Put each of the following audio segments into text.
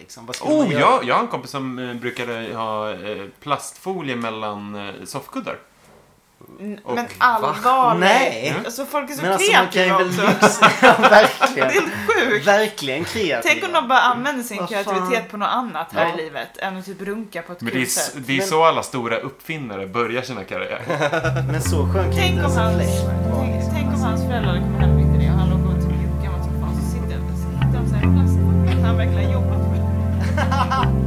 Liksom. Vad ska man Oh, göra? jag, jag har en kompis som eh, brukade ha eh, plastfolie mellan eh, soffkuddar. N- Och- men allvarligt. Nej. Alltså folk är så Men alltså man kan ju kreativa väl också. lyxa. Ja, Det är verkligen. helt sjukt. Verkligen kreativ. Tänk om de bara använder sin Vad fan. kreativitet på något annat här Ja. i livet än att typ runka på ett Men det är, kul s- sätt. det är Men- så alla stora uppfinnare börjar sina karriärer. Men så skön kan Tänk inte om, ens en hans, flashback vara. tänk, liksom. tänk om hans föräldrar kommer hem mitt i det och han låg och typ gammalt som fan så sitter så hittar de så här en plastkorg. Han verkligen har jobbat med det.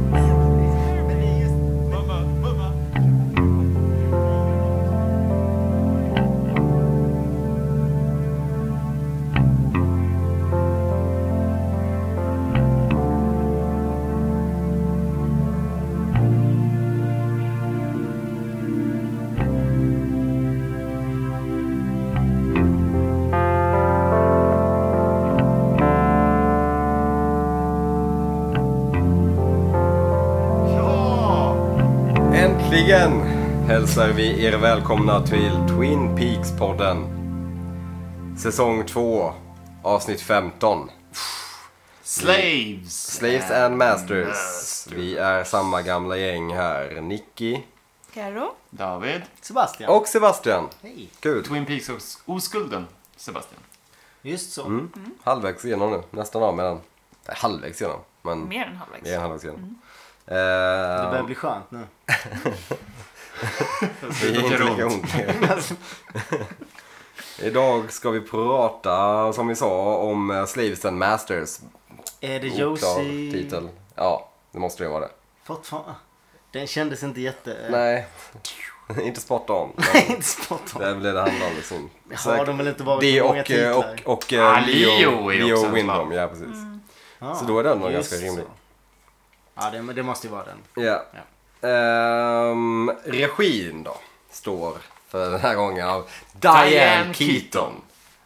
Äntligen hälsar vi er välkomna till Twin Peaks-podden. Säsong 2, avsnitt 15. Slaves! Slaves and Masters. Vi är samma gamla gäng här. Nicky Karo? David. Sebastian. och Sebastian. Hej. Kul. Twin Peaks och s- oskulden. Sebastian. Just så. Mm. Halvvägs igenom nu. Nästan av med den. Nej, Halvvägs igenom. Men Mer än halvvägs. Mm. mer än halvvägs igenom. Det börjar Eh, bli skönt nu. Det är inte gör lika ont längre. Idag ska vi prata, som vi sa, om eh, Slaves and Masters. Är det Oklar Josie? titel. Ja, det måste det vara det. Fortfarande. Den kändes inte jätte... Nej, inte spot on. Nej, inte spot Det on. är väl det det handlar om liksom. Har de väl inte varit Det på och, många titlar? och, och, och Ah, eh, Leo Leo, är också Leo en Windom. slav. Ja, precis. Ja, Så då är den nog just ganska rimlig. så. Ja, det, det måste ju vara den. Ja. Ja. Ehm, regin då, står för den här gången av Diane, Diane Keaton. Keaton.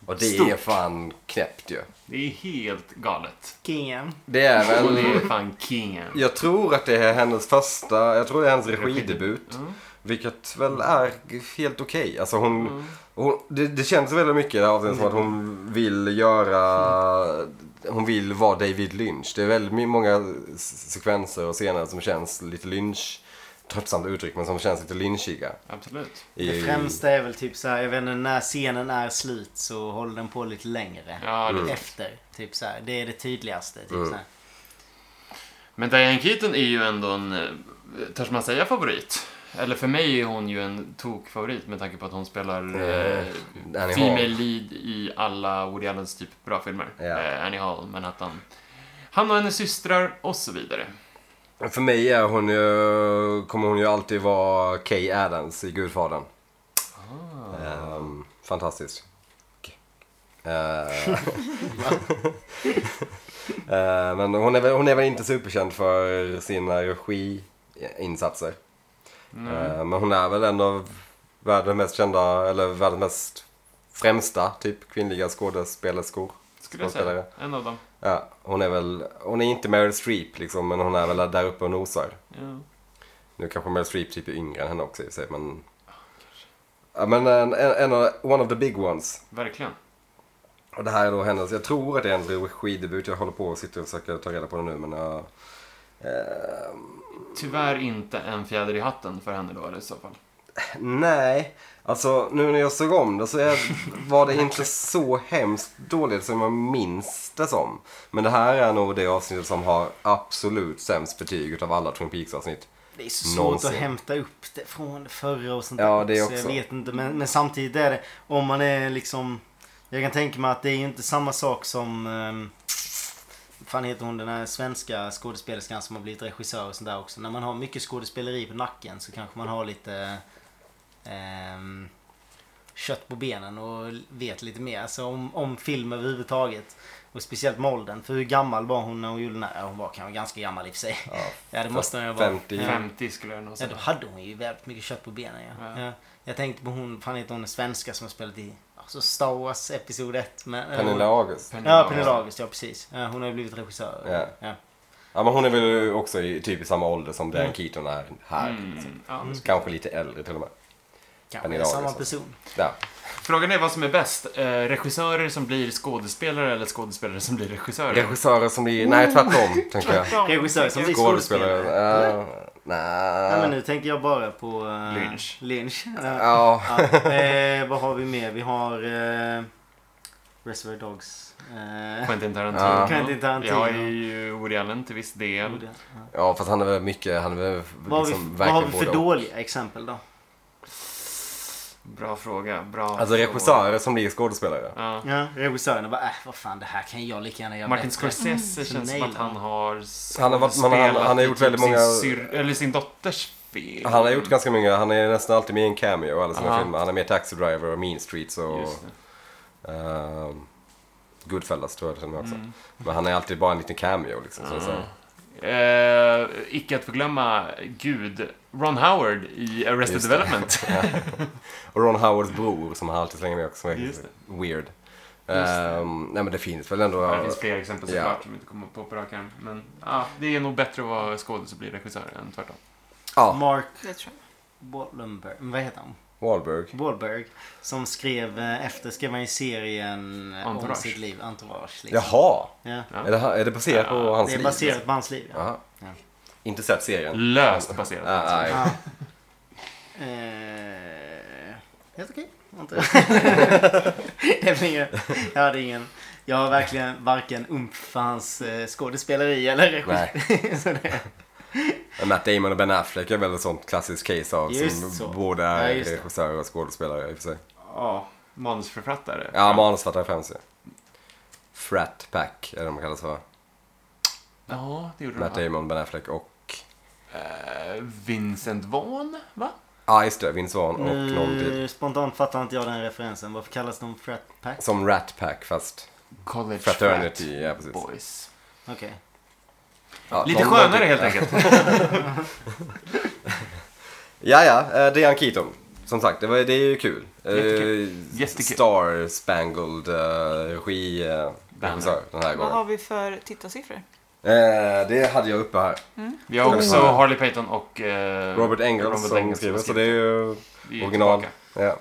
Och det är Stort. fan knäppt ju. Det är helt galet. Kingen. Det är Hon väl... är fan kingen. Jag tror att det är hennes första, jag tror det är hennes regidebut. Vilket väl är helt okej. Alltså hon, hon, det, det känns väldigt mycket av det som att hon vill göra, hon vill vara David Lynch. Det är väldigt my- många s- sekvenser och scener som känns lite Lynch, tröttsamt uttryck, men som känns lite lynchiga. Absolut. I- Det främsta är väl typ så här, jag vet inte, när scenen är slut så håller den på lite längre. Ja, det- Efter, typ så här. Det är det tydligaste. Typ så här. Men Diane Keaton är ju ändå en, eh, törs man säga favorit? Eller för mig är hon ju en tokfavorit med tanke på att hon spelar eh, Annie female Hall. lead i alla Woody Allens typ bra filmer. Ja. Eh, Annie Hall, Manhattan. Han och hennes systrar och så vidare. För mig är hon ju, kommer hon ju alltid vara Kay Adams i Gudfadern. Ehm, fantastisk. Eh, eh, men hon är, väl, hon är väl inte superkänd för sina regiinsatser. Eh, men hon är väl en av världens mest kända, eller världens mest främsta typ kvinnliga skådespelerskor. Skulle jag Skådespelare. säga. En av dem. Ja, hon är väl, hon är inte Meryl Streep liksom, men hon är väl där uppe och nosar. Ja. Nu kanske Meryl Streep typ är yngre än henne också i och för sig, men... Ja, men en, en, en, av- one of the big ones. Verkligen. Och det här är då hennes, jag tror att det är hennes regidebut, jag håller på och sitter och försöker ta reda på det nu, men jag... ehm, Tyvärr inte en fjäder i hatten för henne då eller i så fall. nej, alltså nu när jag såg om det så är, var det inte så hemskt dåligt som jag minns det som. Men det här är nog det avsnittet som har absolut sämst betyg utav alla Twin Peaks-avsnitt. Det är så svårt Någonsin. att hämta upp det från det förra och sånt Ja, där det Jag också. vet inte, men, men samtidigt är det om man är liksom... Jag kan tänka mig att det är ju inte samma sak som... ehm, Vad fan heter hon den här svenska skådespelerskan som har blivit regissör och sånt där också. När man har mycket skådespeleri på nacken så kanske man har lite... ehm, kött på benen och vet lite mer. Alltså om, om film överhuvudtaget. Och speciellt med åldern. För hur gammal var hon när hon gjorde den här? Ja, Hon var kanske ganska gammal i och för sig. Ja, det måste hon ju vara. 50. Ja. 50 skulle jag nog Ja, säga. då hade hon ju väldigt mycket kött på benen. Ja. Ja. Ja. Jag tänkte på hon, fan heter hon den svenska som har spelat i alltså Star Wars Episod 1. Men, eh, Pernilla hon, August. Ja, Pernilla August, ja precis. Ja, hon har ju blivit regissör. Ja. Ja. Ja, men hon är väl också i, typ i samma ålder som Diane Keaton är här. Mm, ja, Kanske lite äldre till och med. Kanske Pernilla alltså. samma Augustsson. person. Ja. Frågan är vad som är bäst. Eh, regissörer som blir skådespelare eller skådespelare som blir regissörer? Regissörer som blir... Nej, tvärtom, tänker jag. Regissör som blir Skådespelare. skådespelare. Uh, Nej, men nej. nu tänker jag bara på... eh, Lynch. Lynch. Ja. Ja. Ja. Eh, vad har vi mer? Vi har... Eh, Reservoir Dogs. Eh, Quentin Tarantino. Ja. Quentin Tarantino. Jag är ju Woody Allen till viss del. Gjorde jag. Ja. ja, fast han är väl mycket... Han är väl Vad har vi, liksom vad har vi verkligen för både och. dåliga exempel då? Bra fråga. Bra Alltså fråga. regissörer som blir skådespelare. Ja. Ja, regissörerna bara äh, vad fan det här kan jag lika gärna göra Martin bättre. Scorsese Mm. känns som att han har Han har varit- man har- han skådespelat i har gjort typ väldigt många- sin, syr, eller sin dotters film. Han har gjort ganska många, han är nästan alltid med i en cameo i alla sina Ja. filmer. Han är med i Taxi Driver och Mean Streets och Just det. ehm, Goodfellas tror jag till och med också. Mm. Men han är alltid bara en liten cameo liksom. Så att säga. Eh, icke att förglömma, gud, Ron Howard i Arrested Just det. Development. Ah. Och Ron Howards bror som han alltid slänger med också som är Just weird. det. Ehm, nej men det finns väl ändå... Ja, Det finns fler exempel Ja. såklart som inte kommer på på rak arm. Men ja, det är nog bättre att vara skådis och bli regissör än tvärtom. Ja, Mark Det tror jag. Wallenberg, vad heter han? Wahlberg. Wahlberg. Som skrev, eh, efter skrev han ju serien eh, om Entourage. sitt liv, Entourage. Liksom. Jaha! Ja. Ja. Är det, är det baserat på Ja, hans Det är liv? baserat på hans liv. Ja. Jaha. Inte sett serien? Löst baserat. Ah, ah, ja. Ja. Eh, helt okej. Inte. det är väl ingen. Jag hade ingen. Jag har verkligen varken ump för hans eh, skådespeleri eller regi. Så det- Men Matt Damon och Ben Affleck är väl ett sånt klassiskt case av Just som så. både är Ja, just det. regissörer och skådespelare i och för sig. Ja, manusförfattare. Ja, manusförfattare främst ju. Frat Pack är de kallas för. Ja, det gjorde Matt du. va? Damon, Ben Affleck och... Eh, Vincent Vaughn, va? Ja, ah, just det. Vince Vaughn och någon till. Nu spontant fattar inte jag den referensen. Varför kallas de Frat Pack? Som Rat Pack fast College Fraternity. Ja, precis. Frat Boys. Okej. Ja, Lite någon- skönare helt enkelt. Ja, ja. eh, Diane Keaton. Som sagt, det, var, det är ju kul. Eh, Jättekul. Jättekul. Star Spangled uh, regi... eh, Banner. regissör den här Vad gången. har vi för tittarsiffror? Eh, det hade jag uppe här. Vi har också Mm. Harley Payton och eh, Robert Engels som skriver, så det är ju Vi är original. tillbaka. Ja.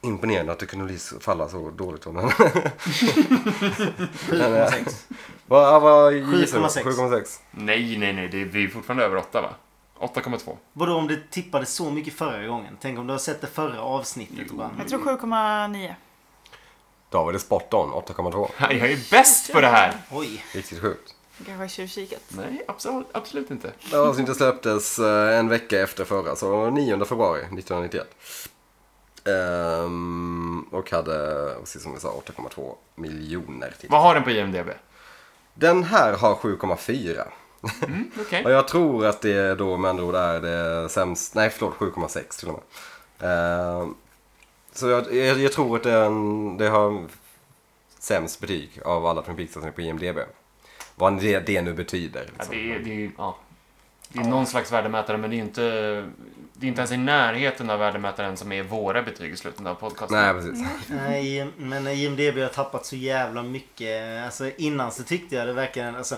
Imponerande att det kunde bli så- falla så dåligt om den. eh, 7,6. vad, vad gissar du? 7,6. 7,6. Nej, nej, nej. Det är, vi är fortfarande över 8, va? 8,2. Vadå om det tippade så mycket förra gången? Tänk om du har sett det förra avsnittet och bara... Jag tror 7,9. Då var det spot on, 8,2. Jag är bäst på det här! Oj. Riktigt sjukt. Jag kanske har tjuvkikat. Nej, absolut, absolut inte. Det här avsnittet släpptes eh, en vecka efter förra, så 9 februari 1991. Ehm, och hade, precis som vi sa, 8,2 miljoner till. Vad har den på IMDB? Den här har 7,4. Mm, Okej. Och jag tror att det då med andra ord är det sämst, nej förlåt 7,6 till och med. Ehm, så jag, jag, jag tror att den, det har sämst betyg av alla Twin Peaks på IMDB. Vad det, det nu betyder. Ja, Liksom. det är, det är, ja. det är någon slags värdemätare, men det är inte, det är inte ens i närheten av värdemätaren som är våra betyg i slutet av podcasten. Nej, precis. Nej, men IMDB har tappat så jävla mycket. Alltså innan så tyckte jag det verkligen... Alltså,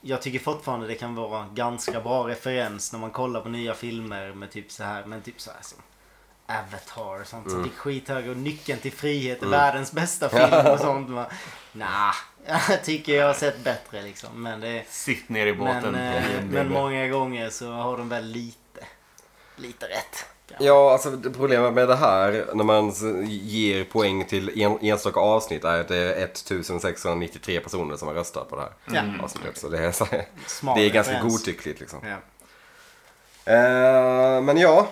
jag tycker fortfarande det kan vara ganska bra referens när man kollar på nya filmer med typ så här. Men typ så här som Avatar och sånt som fick skithög och Nyckeln till frihet är världens bästa film och sånt. Man, nah, jag tycker jag har sett bättre liksom. Men det är... Sitt ner i båten. Men, eh, IMDb. men många gånger så har de väl lite, lite rätt. Ja, alltså det problemet med det här när man s- ger poäng till en, enstaka avsnitt är att det är 1693 personer som har röstat på det här Ja. avsnittet. Så det är, så, Smal det är ganska referens. godtyckligt liksom. Ja. Eh, men ja,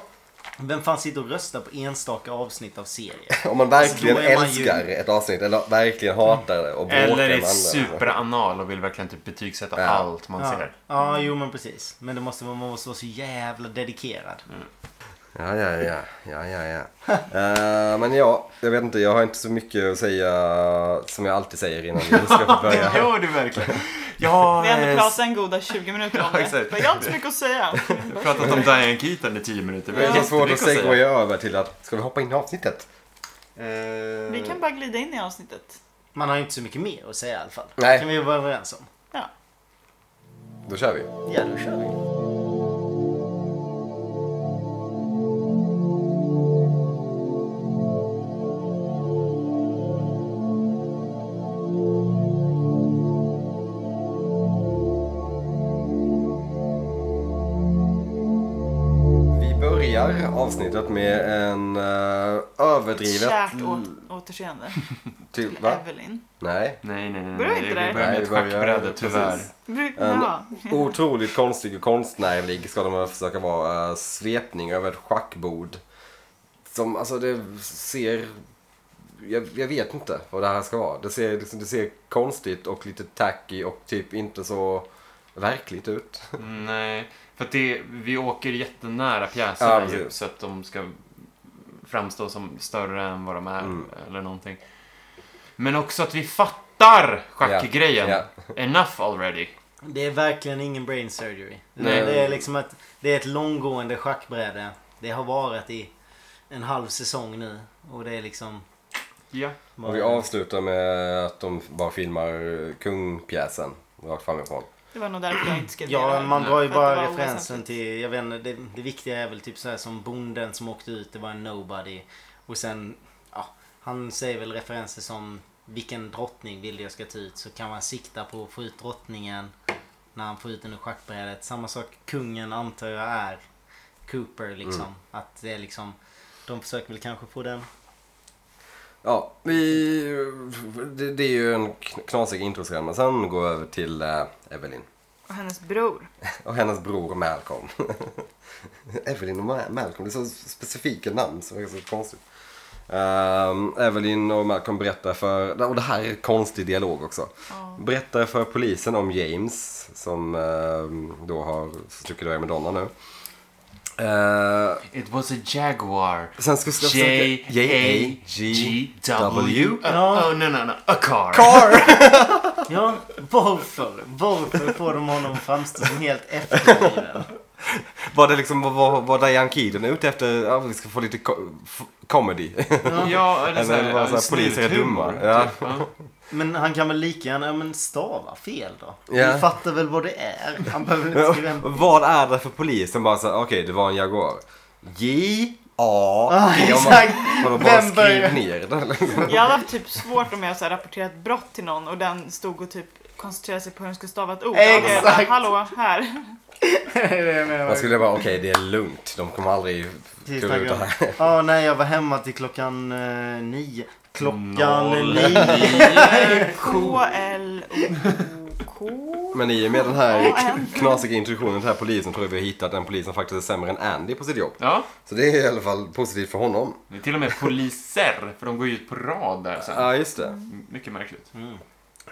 Vem fan sitter och röstar på enstaka avsnitt av serier? Om man verkligen Alltså, då är man ju- älskar ett avsnitt eller verkligen hatar det och bråkar Eller är med andra. superanal och vill verkligen typ betygsätta Ja. allt man Ja. ser. ja, jo men precis. Men det måste vara, man måste vara så jävla dedikerad. Ja, ja, ja. ja, ja, ja. Eh, men ja, jag vet inte. Jag har inte så mycket att säga som jag alltid säger innan vi ska börja. Det gör du verkligen. Ja, Vi har eh, ändå pratat en goda 20 minuter om Ja, det. exakt. Men jag har inte så mycket att säga. Vi har pratat om Diane Keaton i 10 minuter. Det är jättemycket svårt att säga. segwaya över till att ska vi hoppa in i avsnittet? Eh, Vi kan bara glida in i avsnittet. Man har ju inte så mycket mer att säga i alla fall. Nej. kan vi vara överens om. Ja. Då kör vi. Ja, då kör vi. börjar avsnittet med en eh, överdrivet... Kärt å- återseende Till, till va? Evelyn. Nej. Nej, nej, nej. Börjar nej. inte Vi där? börjar med Nej, ett vi börjar- schackbräde, tyvärr. precis. Bruk- En- Ja. Otroligt konstig och konstnärlig ska de försöka vara. eh, Svepning över ett schackbord. Som, alltså det ser... Jag, jag vet inte vad det här ska vara. Det ser, liksom, det ser konstigt och lite tacky och typ inte så verkligt ut. Nej, för att det, vi åker jättenära pjäserna Ja, ju, precis. så att de ska framstå som större än vad de är Mm. eller någonting. Men också att vi fattar schackgrejen. Ja. Enough already. Det är verkligen ingen brain surgery. Nej. Det är liksom ett, det är ett långgående schackbräde. Det har varit i en halv säsong nu. Och det är liksom... Ja. Och vi avslutar med att de bara filmar kungpjäsen rakt framifrån. Det var nog därför jag inte skrev det Ja, där. man drar ju För att typ. det bara var referensen oväsentligt. till, jag vet inte, det, det viktiga är väl typ så här som bonden som åkte ut, det var en nobody. Och sen, ja, han säger väl referenser som vilken drottning vill jag ska ta ut? Så kan man sikta på att få ut drottningen när han får ut den ur schackbrädet. Samma sak kungen antar jag är Cooper liksom. Att det är liksom, de försöker väl kanske få den. Ja, vi, det, det är ju en kn- knasig introscen. Men sen går vi över till eh, Evelyn. Och hennes bror. Och hennes bror Malcolm. Evelyn och Ma- Malcolm, det är så specifika namn så det är så konstigt. Ehm, Evelyn och Malcolm berättar för, och det här är konstig dialog också. Ja. Berättar för polisen om James som ehm, då har, tycker det är Madonna nu. Ehm, It was a Jaguar. sen ska vi ska försöka- J-A-G-W. Ja. Oh, no, no, no. A car. Ja, varför? Varför får de honom att framstå som helt efterbliven? Var det liksom, var, var Diane Keaton ute efter, ja, vi ska få lite ko- f- comedy? Ja, eller så Eller bara så här, här, poliser är snuthumor, dumma. Ja. typ. Ja. Men han kan väl lika gärna, ja men stava fel då. Ja. Du fattar väl vad det är? Han behöver inte skriva en... Vad är det för polis som bara säger okej det var en Jaguar? J A Ah, G- exakt. Vadå, bara Vem skriv börjar? ner det. liksom. Jag hade haft typ svårt om jag så här rapporterat brott till någon och den stod och typ koncentrerade sig på hur den skulle stava ett ord. Då hade jag Exakt. bara, Hallå, här. Jag skulle bara, okej det är lugnt. De kommer aldrig klara ut det här. Ja, nej jag var hemma till klockan eh, nio. Klockan Noll. nio. K-L-O-K. Men i och med den här Ja, en. knasiga introduktionen till den här polisen tror jag vi har hittat en polis som faktiskt är sämre än Andy på sitt jobb. Ja, Så det är i alla fall positivt för honom. det är till och med poliser, för de går ju ut på rad där sen. Ja, just det. Mycket märkligt.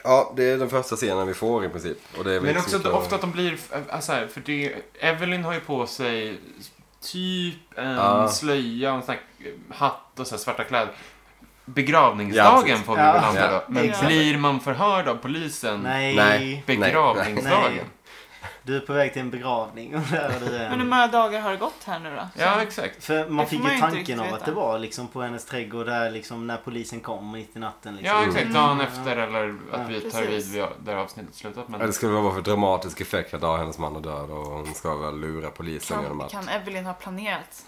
Ja, det är den första scenen vi får i princip. Och det är väl Men inte också så att mycket att- ofta att de blir, alltså här, för det, Evelyn har ju på sig typ en Ja. slöja, och en sån här hatt och så här svarta kläder. Begravningsdagen Ja, får vi Ja. väl anta Ja. då. Men Exakt. blir man förhörd av polisen Nej. Nej. begravningsdagen? Nej. Du är på väg till en begravning och där är du Men hur en. många dagar har det gått här nu då? Ja, exakt. För Det man får fick man ju ju inte tanken riktigt av veta. att det var liksom på hennes trädgård där liksom när polisen kom mitt i natten liksom. Ja, exakt. Dagen efter eller Ja, att vi tar precis. vid vid- där avsnittet slutat. Ja, det Men skulle väl vara för dramatisk effekt att ja, hennes man är död och hon ska väl lura polisen genom Kan, att... kan Evelyn ha planerat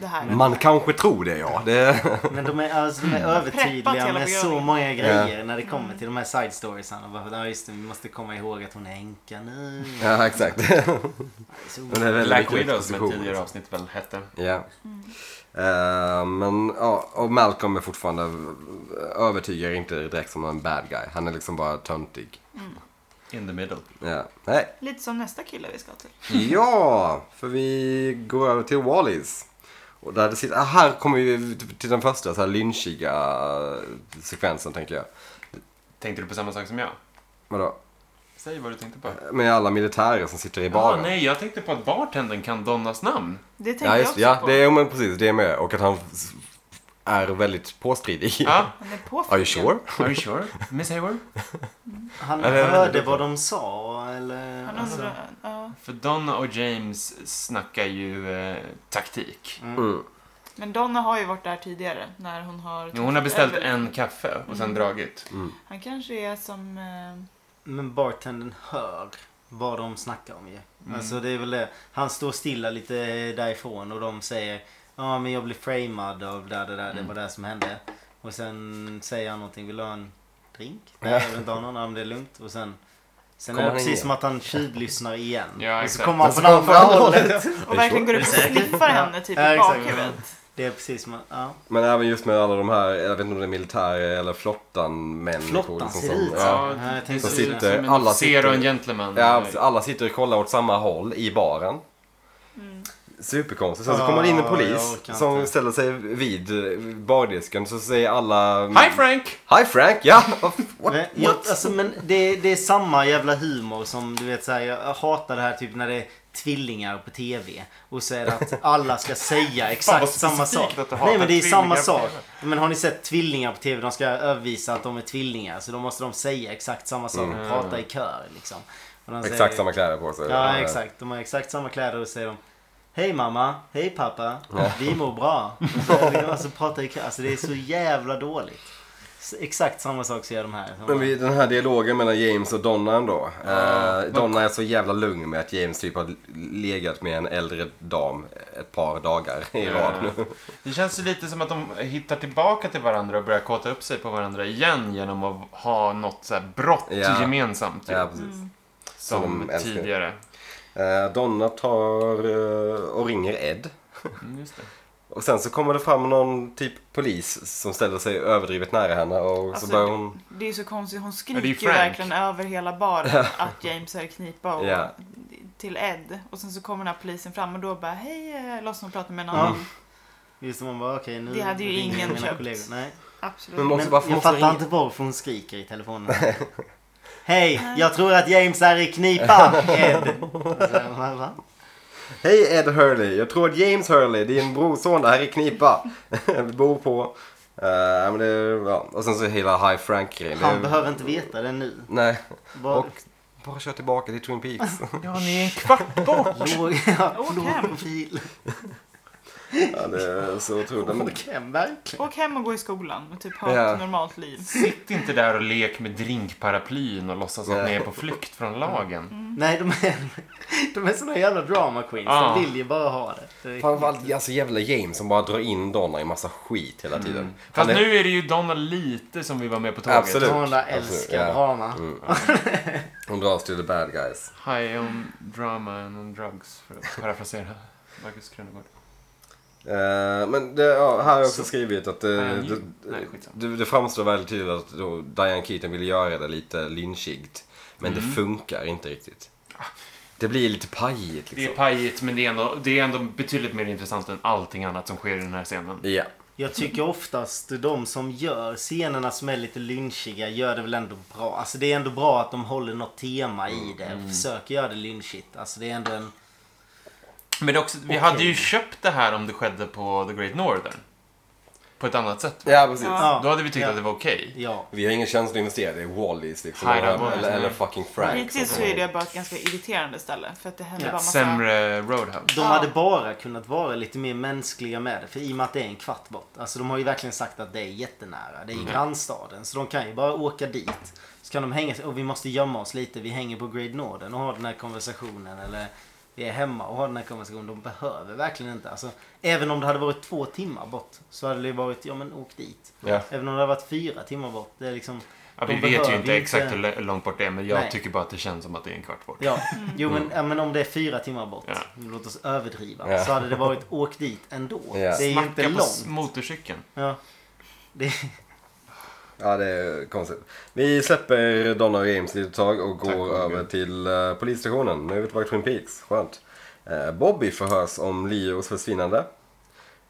det här? Man kanske tror det ja. Det... Men de är, alltså, de är Mm. Preppat hela övertydliga Mm. med så begravningen. många grejer när det kommer till de här side storiesen. Och bara, Ja just det, vi måste komma ihåg att hon är änka nu. Ja, exakt. Så- Men det är väldigt Black mycket Widow som ett exposition. tidigare avsnitt väl hette. Ja. Mm. Eh, men ja, och Malcolm är fortfarande övertygar inte direkt som en bad guy. Han är liksom bara töntig. In the middle. Ja. Nej. Lite som nästa kille vi ska till. Ja, för vi går över till Wallis. Och där det sitter, ah, här kommer vi till den första så här lynchiga sekvensen tänker jag. Tänkte du på samma sak som jag? Vadå? Säg vad du tänkte på. Med alla militärer som sitter Äh, i Ja, baren. nej, jag tänkte på att bartendern kan Donnas namn. Det tänkte Ja, jag just, också ja på. det är men precis. Det är med. Och att han s- är väldigt påstridig. Ja. Han är på Are you sure? Ah, Are you sure? Miss Hayward? Han Eller- hörde vad de sa eller... Han alltså, undrar, ja. För Donna och James snackar ju eh, taktik. Mm. Men Donna har ju varit där tidigare när hon har... Jo, Hon har beställt Evelyn. en kaffe och sen dragit. mm. Han kanske är som... Eh, men bartendern hör vad de snackar om ju. Alltså det är väl det. Han står stilla lite därifrån och de säger Ja men jag blev framad av det där, det där, det var det som hände. Och sen säger han någonting, vill du ha en drink? Nej jag vill inte ha någon, ja men det är lugnt. Och sen Sen Kommer är det han precis igen? som att han tjuvlyssnar igen. Ja, och så exakt. kommer han Men så från andra kommer han från hållet. Och verkligen går upp och Säkert. sniffar henne typ Ja, i exakt. bakhuvudet. Det är precis som att, ja. Men även just med alla de här, jag vet inte om det är militärer eller flottan-människor. Flottan liksom ser som- ut så. ja. Ja, jag det tänkte ser ut sitter- som en alla officer och en sitter- gentleman. Ja, alltså, precis. alla sitter och kollar åt samma håll i baren. Superkonstigt. Sen så Ja, kommer det in en Ah, jag polis orkar som inte. ställer sig vid eh, bardisken så säger alla... Hi Frank! Hi Frank! Ja! What? Men, jag, alltså, men det, det är samma jävla humor som du vet så här, jag hatar det här typ när det är tvillingar på TV och så är det att alla ska säga vad exakt specifikt samma sak. att du hatar Nej men det är samma tvillingar på sak. TV. Men har ni sett tvillingar på TV? De ska övervisa att de är tvillingar så då måste de säga exakt samma sak Mm. och prata i kör liksom. Och de säger- Exakt samma kläder på sig. Ja exakt. De har exakt samma kläder och säger de Hej mamma, hej pappa, vi mår bra. Alltså prata i kör. Alltså det är så jävla dåligt. Så Exakt samma sak så gör de här. Men vi, den här dialogen mellan James och Donna ändå. eh, Donna är så jävla lugn med att James typ har legat med en äldre dam ett par dagar i rad nu. Det känns ju lite som att de hittar tillbaka till varandra och börjar kåta upp sig på varandra igen genom att ha något så här brott Ja. gemensamt. ju, Ja, precis. Som Som de älskar. tidigare. Eh, Donna tar eh, och ringer Ed. Mm, just det. Och sen så kommer det fram någon typ polis som ställer sig överdrivet nära henne och Alltså, så börjar hon... Det är ju så konstigt. Hon det är ju skriker Frank. verkligen över hela baren att James är i knipa och Ja. till Ed. Och sen så kommer den här polisen fram och då bara hej, eh, låtsas hon prata med en annan. Just det, man bara okej nu Det hade ju ringer ingen mina köpt. kollegor. Nej. Absolut. Men måste Men bara få jag måste fattar ringa. inte varför hon skriker i telefonen. Hej, jag tror att James är i knipa, Ed. Alltså, va, va? Hej Ed Hurley, jag tror att James Hurley, din brorson, är i knipa. Vi bor på... Eh, men det, ja. Och sen så hela High Frank-grejen. Det- Han behöver inte veta det nu. Nej. Bara Och bara kör tillbaka till Twin Peaks. Ja, ni är en kvart bort! låg, ja, Åk låg hem. profil. ja, det är så otroligt. Men, Åk hem verkligen. Åk hem och gå i skolan och typ ha ett Ja. normalt liv. Sitt inte där och lek med drinkparaplyn och låtsas att ni är på flykt från lagen. Mm. Nej, de är, de är såna jävla drama queens. Ja. Ah. De vill ju bara ha det. det. är- Framförallt alltså, jävla James som bara drar in Donna i massa skit hela tiden. Mm. Fast Han är- nu är det ju Donna lite som vi var med på tåget. Absolut. Donna Alltså, älskar ja. drama. Hon dras till the bad guys. High on drama and on drugs, för att parafrasera Marcus Krunegård. Eh, men det, ja, här har jag också skrivit att eh, Diane det, Keaton? Nej, skitsamma. det, det framstår väldigt tydligt att då Diane Keaton vill göra det lite lynchigt. Men det funkar inte riktigt. Det blir lite pajigt Det är liksom. pajigt, men det är, ändå, det är ändå betydligt mer intressant än allting annat som sker i den här scenen. Ja. Jag tycker oftast de som gör scenerna som är lite lynchiga gör det väl ändå bra. Alltså det är ändå bra att de håller något tema i det Mm. och försöker göra det lynchigt. Alltså det är ändå en... Men det är också, vi hade ju köpt det här om det skedde på The Great Northern. På ett annat sätt. ja, precis. Ja. Då hade vi tyckt ja. att det var okej. Ja. Vi har ingen känsla att investera i Wallis liksom. Nej, det eller, var- eller, eller fucking Frank. Hittills så är det bara ett ganska irriterande ställe för att det händer Ja, bara massa... Sämre Roadhouse. De Ja. hade bara kunnat vara lite mer mänskliga med det. För i och med att det är en kvart bort. Alltså de har ju verkligen sagt att det är jättenära. Det Mm. är i grannstaden. Så de kan ju bara åka dit. Så kan de hänga sig. Och vi måste gömma oss lite. Vi hänger på Grade Norden och har den här konversationen. Eller vi är hemma och har den här konversationen. De behöver verkligen inte. Alltså, även om det hade varit två timmar bort. Så hade det ju varit, ja men åk dit. Ja. Även om det hade varit fyra timmar bort. Det är liksom... Ja, de vi vet ju behöver inte exakt hur l- långt bort det är, men jag Nej. tycker bara att det känns som att det är en kvart bort. Ja, Mm. jo men, ja, men om det är fyra timmar bort, Ja. låt oss överdriva, Ja. så hade det varit åk dit ändå. Ja. Det är ju inte Snacka på s- långt. motorcykeln. Ja. Det, Ja, det är konstigt. Vi släpper Donna och James lite tag och går Tack, Roger. över till eh, polisstationen. Nu är vi tillbaka i Twin Peaks. Skönt. Eh, Bobby förhörs om Leos försvinnande.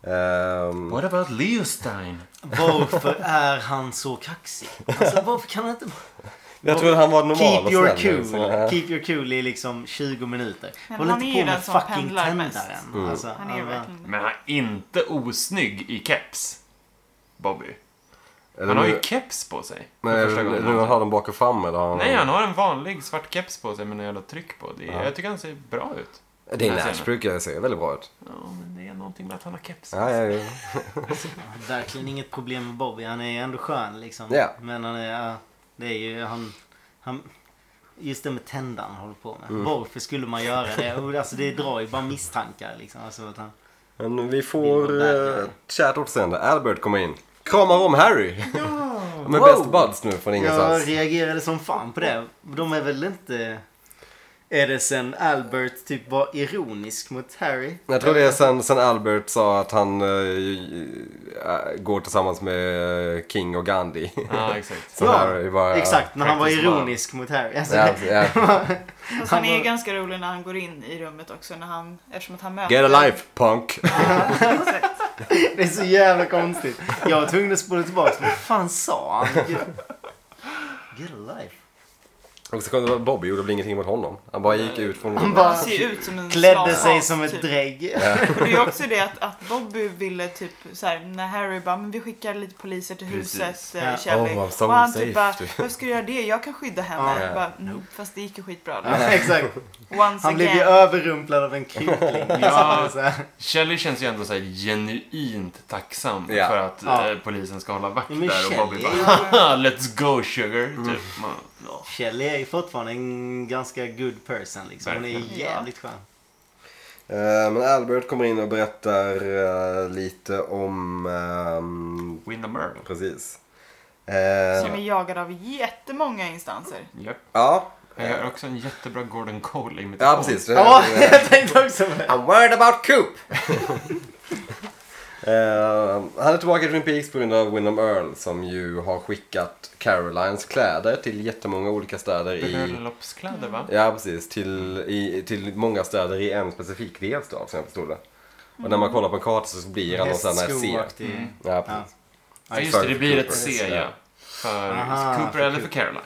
Ehm, What about Leostein? varför är han så kaxig? Alltså varför kan han inte... jag trodde han var normal Keep och your snäll, liksom. cool. så- ja. Keep your cool i liksom 20 minuter. Men Håll han inte på är ju med den som fucking pendlar mest. tändaren. Mm. Alltså, Han är ju bara- verkligen Men han är inte osnygg i keps, Bobby. Eller Han har nu- ju keps på sig. för men första gången. Nu har de bak och fram eller? har han- Nej, han har en vanlig svart keps på sig med en jävla tryck på. Det, Jag tycker han ser bra ut. Det är Nej, Nash sen. brukar jag se väldigt bra ut. Ja, men det är någonting med att han har keps. Ja, ja, ja. Verkligen inget problem med Bobby. Han är ändå skön liksom. Ja. Men han är... ja, Det är ju han... han just det med tändan han håller på med. Mm. Varför skulle man göra det? Och, Alltså det drar ju bara misstankar liksom. Alltså, att han... Men vi Vill får vara där, eh, ja. ett kärt återseende. Albert kommer in. Kramar om Harry. De är best buds nu från Jag ingenstans. reagerade som fan på det. De är väl inte... Är det sen Albert typ var ironisk mot Harry? Jag tror det är sen, sen Albert sa att han eh, eh, går tillsammans med eh, King och Gandhi. Ja, exakt. Så Harry bara- exakt. När han var faktiskt bara- ironisk mot Harry. Alltså, Ja, ja. Fast han är var- ju ganska rolig när han går in i rummet också. När han, eftersom att han möter... Get a life punk. Exakt. Det är så jävla konstigt. Jag var tvungen att spola tillbaka. Vad fan sa han? Get, get a life. Och så kom det Bobby gjorde väl ingenting mot honom. Han bara gick ut från Han Han bara ser ju ut som en klädde slav, sig som typ. ett drägg. Och det är ju också det att, att Bobby ville typ så här, när Harry bara, men vi skickar lite poliser till Precis. huset, Ja. eh, Shelley. Oh, I'm so och han safe. typ bara, varför ska du göra det? Jag kan skydda henne. Ja. Bara, mm, fast det gick ju skitbra. Då. Ja, exakt. Once Han blev ju again. överrumplad av en kyckling. Ja. Så här. Shelley känns ju ändå så här genuint tacksam Ja. för att Ja. eh, polisen ska hålla vakt Ja, men där och Bobby Shelley- bara "Haha, Let's go sugar. Mm. Typ. Man, ja. Kelly är ju fortfarande en ganska good person liksom. Hon är ju Verkligen. jävligt skön. Eh, Men Albert kommer in och berättar eh, lite om... ehm, Win the murder. precis. Eh, Som är jagad av jättemånga instanser. Japp. ja. Jag gör också en jättebra Gordon Cole-imitation. ja, precis. Ja, jag tänkte också på det. I'm worried about Coop! Eh, han är tillbaka i Twin Peaks på grund av Wyndham Earl som ju har skickat Carolines kläder till jättemånga olika städer i... Bröllopskläder, va? Ja, precis. Till, i, till många städer i en specifik delstat som jag förstod det. Och när man kollar på en karta så blir alla sådana här C. Hästskoaktig. Mm. Ja, Ja. precis. Ja, just det. Det blir ett C, Cooper. ja. För Aha, Cooper för eller för Caroline.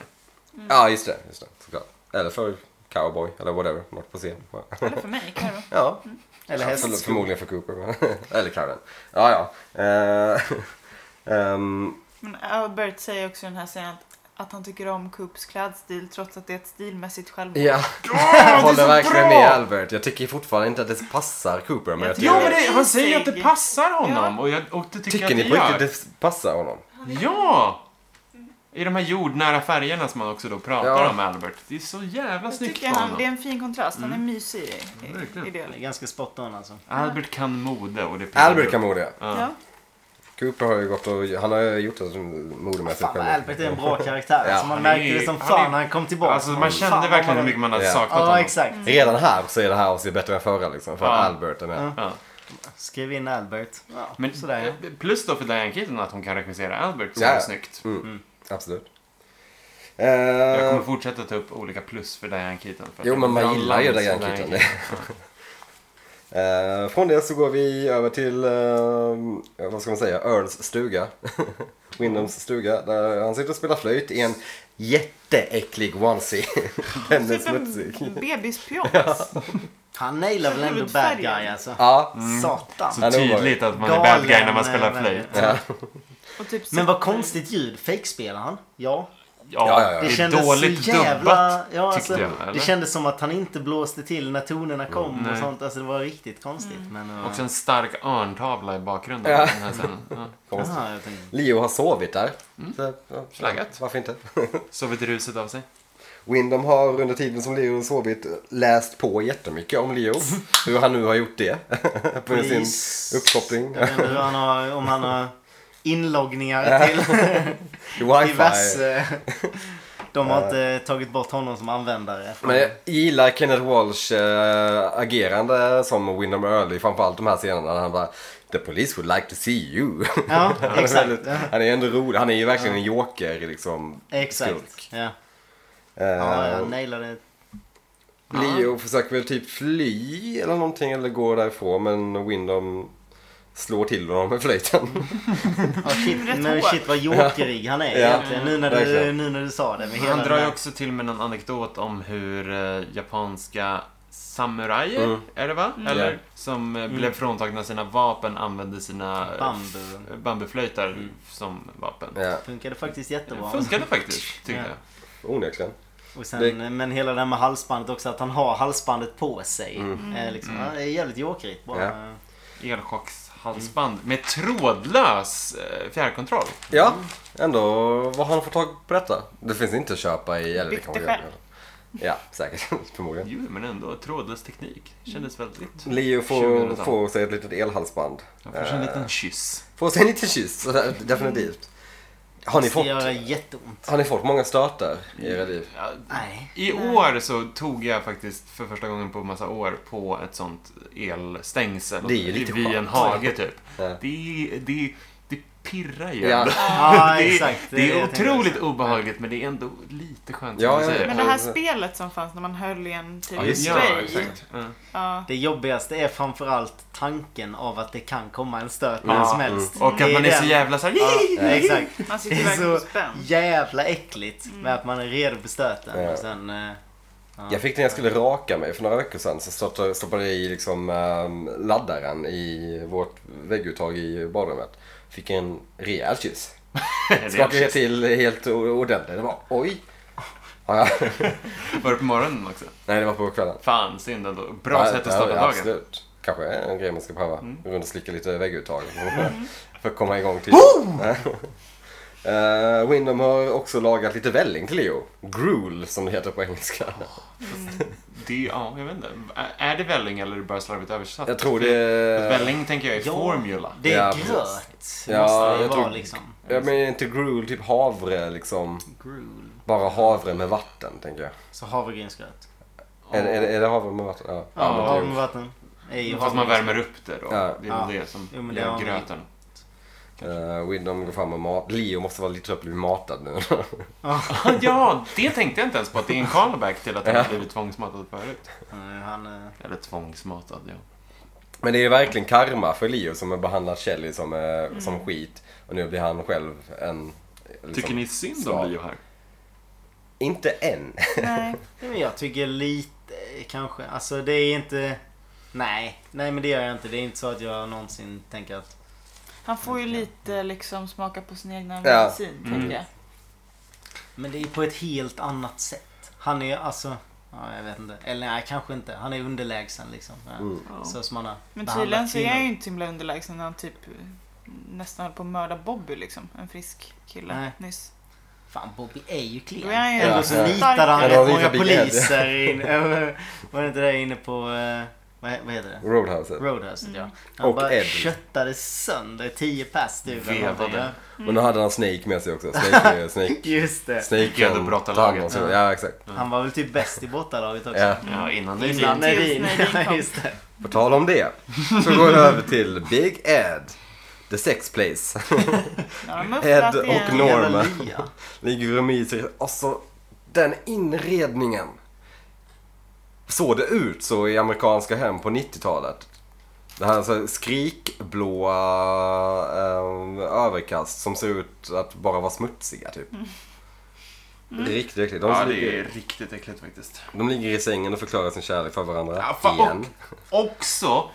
Mm. Ja, just det. Just det såklart. Eller för cowboy eller whatever. Något på C. Eller för mig, Karo. Ja, Eller Ja, förl- hästsko. förmodligen för Cooper. men- eller Karen. Ja, ja. Eh, ehm, Mm. Men Albert säger också i den här scenen att, att han tycker om Coops klädstil trots att det är ett stilmässigt självmord. Ja, jag håller verkligen med Albert. Jag tycker fortfarande inte att det passar Cooper. Men jag Jag tycker, Ja, men det, han Insight. säger att det passar honom. Och, jag, och det tycker, tycker jag ni att på det gör. riktigt det passar honom? Ja! I de här jordnära färgerna som han också då pratar Ja. om, Albert. Det är så jävla Jag snyggt tycker av honom. han, det är en fin kontrast. Han är mysig i, i, Verkligen. i det. liksom. Det är ganska spot on alltså. Albert kan mode och det är Albert kan mode. Ja. Ja. Cooper har ju gått och han har ju gjort det modemässigt Fan vad Albert är en bra karaktär. Ja, alltså, man han är märkte ju- det som han fan är- när han kom tillbaka. Alltså man kände Fan, vad verkligen var- hur mycket man hade Ja. saknat Ja honom. exakt. Redan här så är det här avsnittet bättre än förra liksom. För Ja. Albert är med. Ja. Ja. Skrev in Albert. Ja, Men sådär ja. eh, plus då för Diane Keaton att hon kan regissera Albert så Ja. är det snyggt. Mm. Absolut. Eh, Jag kommer fortsätta ta upp olika plus för Diane Keaton. För att Jo, det men är man bra gillar ju land som Diane Keaton. Ja. eh, från det så går vi över till, eh, vad ska man säga, Earls stuga. Windhams stuga. Där han sitter och spelar flöjt i en jätteäcklig onesie. Den är Typ smutsig. en bebispyjamas. Han nailar väl ändå bad Hudfärgen. guy alltså. Ja, Satan. Mm. Så Han är tydligt att man är bad guy när Galen, man spelar eh, flöjt. Ja. Och typ Men vad konstigt ljud. Fejkspelar han? Ja. Ja, ja, ja. Ja, det är dåligt dubbat ja, alltså, tyckte jag. Det Eller? Mm, kändes som att han inte blåste till när tonerna kom och Nej. Mm. sånt. Alltså det var riktigt konstigt. Men, eh, ja. Också en stark örntavla i bakgrunden. Ja. i Den här scenen. Ja. konstigt. Aha, jag tänkte, Leo har sovit där. Så, ja, Flaggat. Varför inte? Sovit ruset av sig. Windom har under tiden som Leo sovit läst på jättemycket om Leo. Hur han nu har gjort det. på sin Polis. uppkoppling. jag vet inte hur han har, om han har inloggningar till Wifi. diverse... eh, De har inte tagit bort honom som användare. Men jag gillar Kenneth Walsh eh, agerande som Windom Early. Framförallt de här scenerna när han bara The police would like to see you. Ja, Han är, exakt. väldigt, han är ändå rolig. Han är ju verkligen en joker liksom. Exakt. skurk. Ja. Eh, Ja, jag nailade Leo försöker väl typ fly eller någonting eller gå därifrån men Windom slår till honom med flöjten. Ja, shit, Rätt men hårt. shit vad jokerig han är Ja. egentligen. Nu när, du, Verkligen. nu när du sa det. Med hela Han den drar ju där- också till med någon anekdot om hur eh, japanska samurajer, är det va? Eller? Ja. Som eh, blev fråntagna sina vapen använde sina eh, Bambu. f- bambuflöjtar som vapen. ja, Funkade faktiskt Det jättebra. funkade faktiskt, tyckte Ja. jag. onekligen. Och sen, men hela det här med halsbandet också, att han har halsbandet på sig. Mm. Eh, liksom, ja, det är jävligt jokerigt. Bara, Ja. Elchockshalsband med trådlös eh, fjärrkontroll. Ja, ändå. Vad har han fått tag på detta? Det finns inte att köpa i... Eller det Byggt kanske det gör själv. det. Ja, säkert. Förmodligen. Jo, men ändå. Trådlös teknik. Kändes väldigt... Leo 2000-tal. får, får sig ett litet elhalsband. Han får sig en liten kyss. Får sig en liten kyss, så där- definitivt. Har ni Det fått, gör jätteont. har ni fått många startar i era liv? Ja, Nej. I år så tog jag faktiskt för första gången på massa år på ett sånt elstängsel. Det är ju lite Vid en skönt. hage typ. Ja. Det, det, det pirrar ju Ja. ändå. Ja, det, är- exakt. Det, är är jag tänkte otroligt obehagligt men det är ändå lite skönt. Ja, som du ja, säger. ja. Men det här spelet som fanns när man höll i en typ Ja, just det. Ja, spray. exakt. Ja. Ja, Det jobbigaste är framförallt tanken av att det kan komma en stöt när Ja, Mm. som helst. Och att Det man är så den- jävla såhär... Ja, exakt. man Det sitter är verkligen Mm. på så spänn. jävla äckligt med att man är redo för stöten. Ja. Och sen, eh, ja. Jag fick det när jag skulle raka mig för några veckor sedan. Så stoppade, stoppade jag i liksom, ehm, laddaren i vårt vägguttag i badrummet. Fick en rejäl kyss. Skakade jag till helt o- ordentligt. Det var oj. Ja, ja. Var det på morgonen också? Nej, det var på kvällen. Fan, synd ändå. Bra Ja, sätt ja, att starta ja, dagen. Mm. Absolut. Kanske är en grej man ska pröva. Runt och slicka lite vägguttag. för att komma igång till. Uh, Windom har också lagat lite välling till Leo. Gruel som det heter på engelska. Det, ja, jag vet inte. Ä- Är det välling eller är det bara slarvigt översatt? Jag tror det... För Välling tänker jag är formula. Det är Ja, precis. gröt. Ja, måste det jag vara tror- liksom. Ja men är inte gruel typ havre liksom? Gruel. Bara havre med vatten tänker jag. Så havregrynsgröt. Är, är, är det havre med vatten? Ja. Ja, men det är havre med vatten. Är ju Fast man havregrynsgröt. värmer upp det då. Ja. Det är väl Ja. det som Jo, men det gör har- gröten. Eh, Windom går fram och mat. Leo måste vara lite trött på att bli matad nu. ja, det tänkte jag inte ens på. Att det är en callback till att han har blivit tvångsmatad förut. Eh, Han, eh, Eller tvångsmatad, ja. men det är ju verkligen karma för Leo som har behandlat Shelly som, eh, som skit. Och nu blir han själv en... liksom- Tycker ni synd Svar. om Leo här? Inte än. Nej. nej, men jag tycker lite eh, kanske. Alltså det är inte... Nej, nej men det gör jag inte. Det är inte så att jag någonsin tänker att... Han får ju lite liksom smaka på sin egna Ja. medicin, tänker jag. Men det är på ett helt annat sätt. Han är alltså... Ja, jag vet inte. Eller nej, kanske inte. Han är underlägsen liksom. Ja. Mm. Ja. Så som han har Men behandlat tydligen så är kvinnor. han ju inte så himla underlägsen när han typ eh, nästan höll på att mörda Bobby liksom. En frisk kille Nej. nyss. Fan, Bobby är ju klen. Då är han ju Ändå så Ja. nitade han Ja, rätt det var många lite begärd. poliser. In, över- var det inte det inne på... eh, Vad, he- vad heter det? Roadhouse. Roadhouse, Mm. ja. Han Och bara Ed. köttade sönder tio pers typ. eller Vevade. någonting, ja. Men nu hade han Snake med sig också. Snake... snake, Just det. snake Gödebrottalaget. och så. Ja exakt. Han var väl typ bäst i båtalaget också. Ja. Ja, innan ni Innan Tills Nerin. Nerin kom. Ja, just det. På tal om det så går vi över till Big Ed. The Sex Place. Nu har de mufflat Ed igen. och Jävla Norma lia. ligger och myser. Alltså, den inredningen. Såg det ut så i amerikanska hem på 90-talet? Det här alltså skrikblåa eh, överkast som ser ut att bara vara smutsiga typ. Mm. Riktigt, riktigt. De, Ja, som det är ligger, riktigt äckligt faktiskt. de ligger i sängen och förklarar sin kärlek för varandra Ja, fan, igen. Och också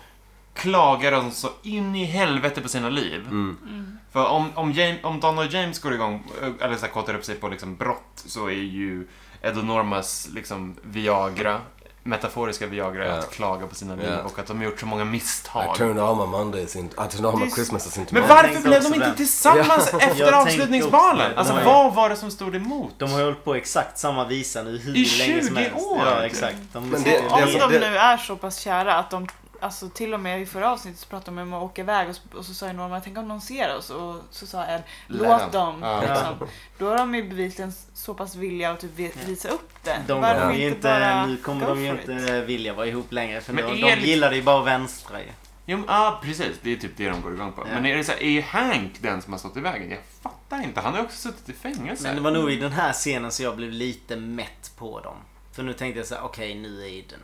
klagar de så in i helvete på sina liv. Mm. För om, om, James, om Donald James går igång, eh, eller så här, kottar upp sig på liksom brott, så är ju Ed och Normas liksom Viagra, metaforiska Viagra, Ja. att klaga på sina liv Ja. och att de har gjort så många I misstag. turned on my Mondays into, I turned on my Christmases into Men Jag Mondays. varför tänkte blev också de inte den. tillsammans efter tänkte också avslutningsbalen? det. Alltså, De har- vad var det som stod emot? De har ju hållit på exakt samma visa nu hur I länge 20 som helst. år. Ja, exakt. De Men sitter ju- det- Om det som- de nu är så pass kära att de Alltså till och med i förra avsnittet så pratade de om att åka iväg och, så- och så sa ju Norma tänk om någon ser oss och så sa Ed Lär låt dem. Ja. Liksom. Då har de ju bevisligen så pass vilja att typ vi- visa upp det. De Varför kommer ju inte, nu kommer go de ju for it? inte vilja vara ihop längre för Men de, är de det- gillade ju bara vänstra ju. Jo, men, ah, precis. Det är typ det de går igång på. Ja. Men är det så här, är Hank den som har stått i vägen? Jag fattar inte. Han har ju också suttit i fängelse. Men det var nog i den här scenen som jag blev lite mätt på dem. För nu tänkte jag så här: okej nu är den.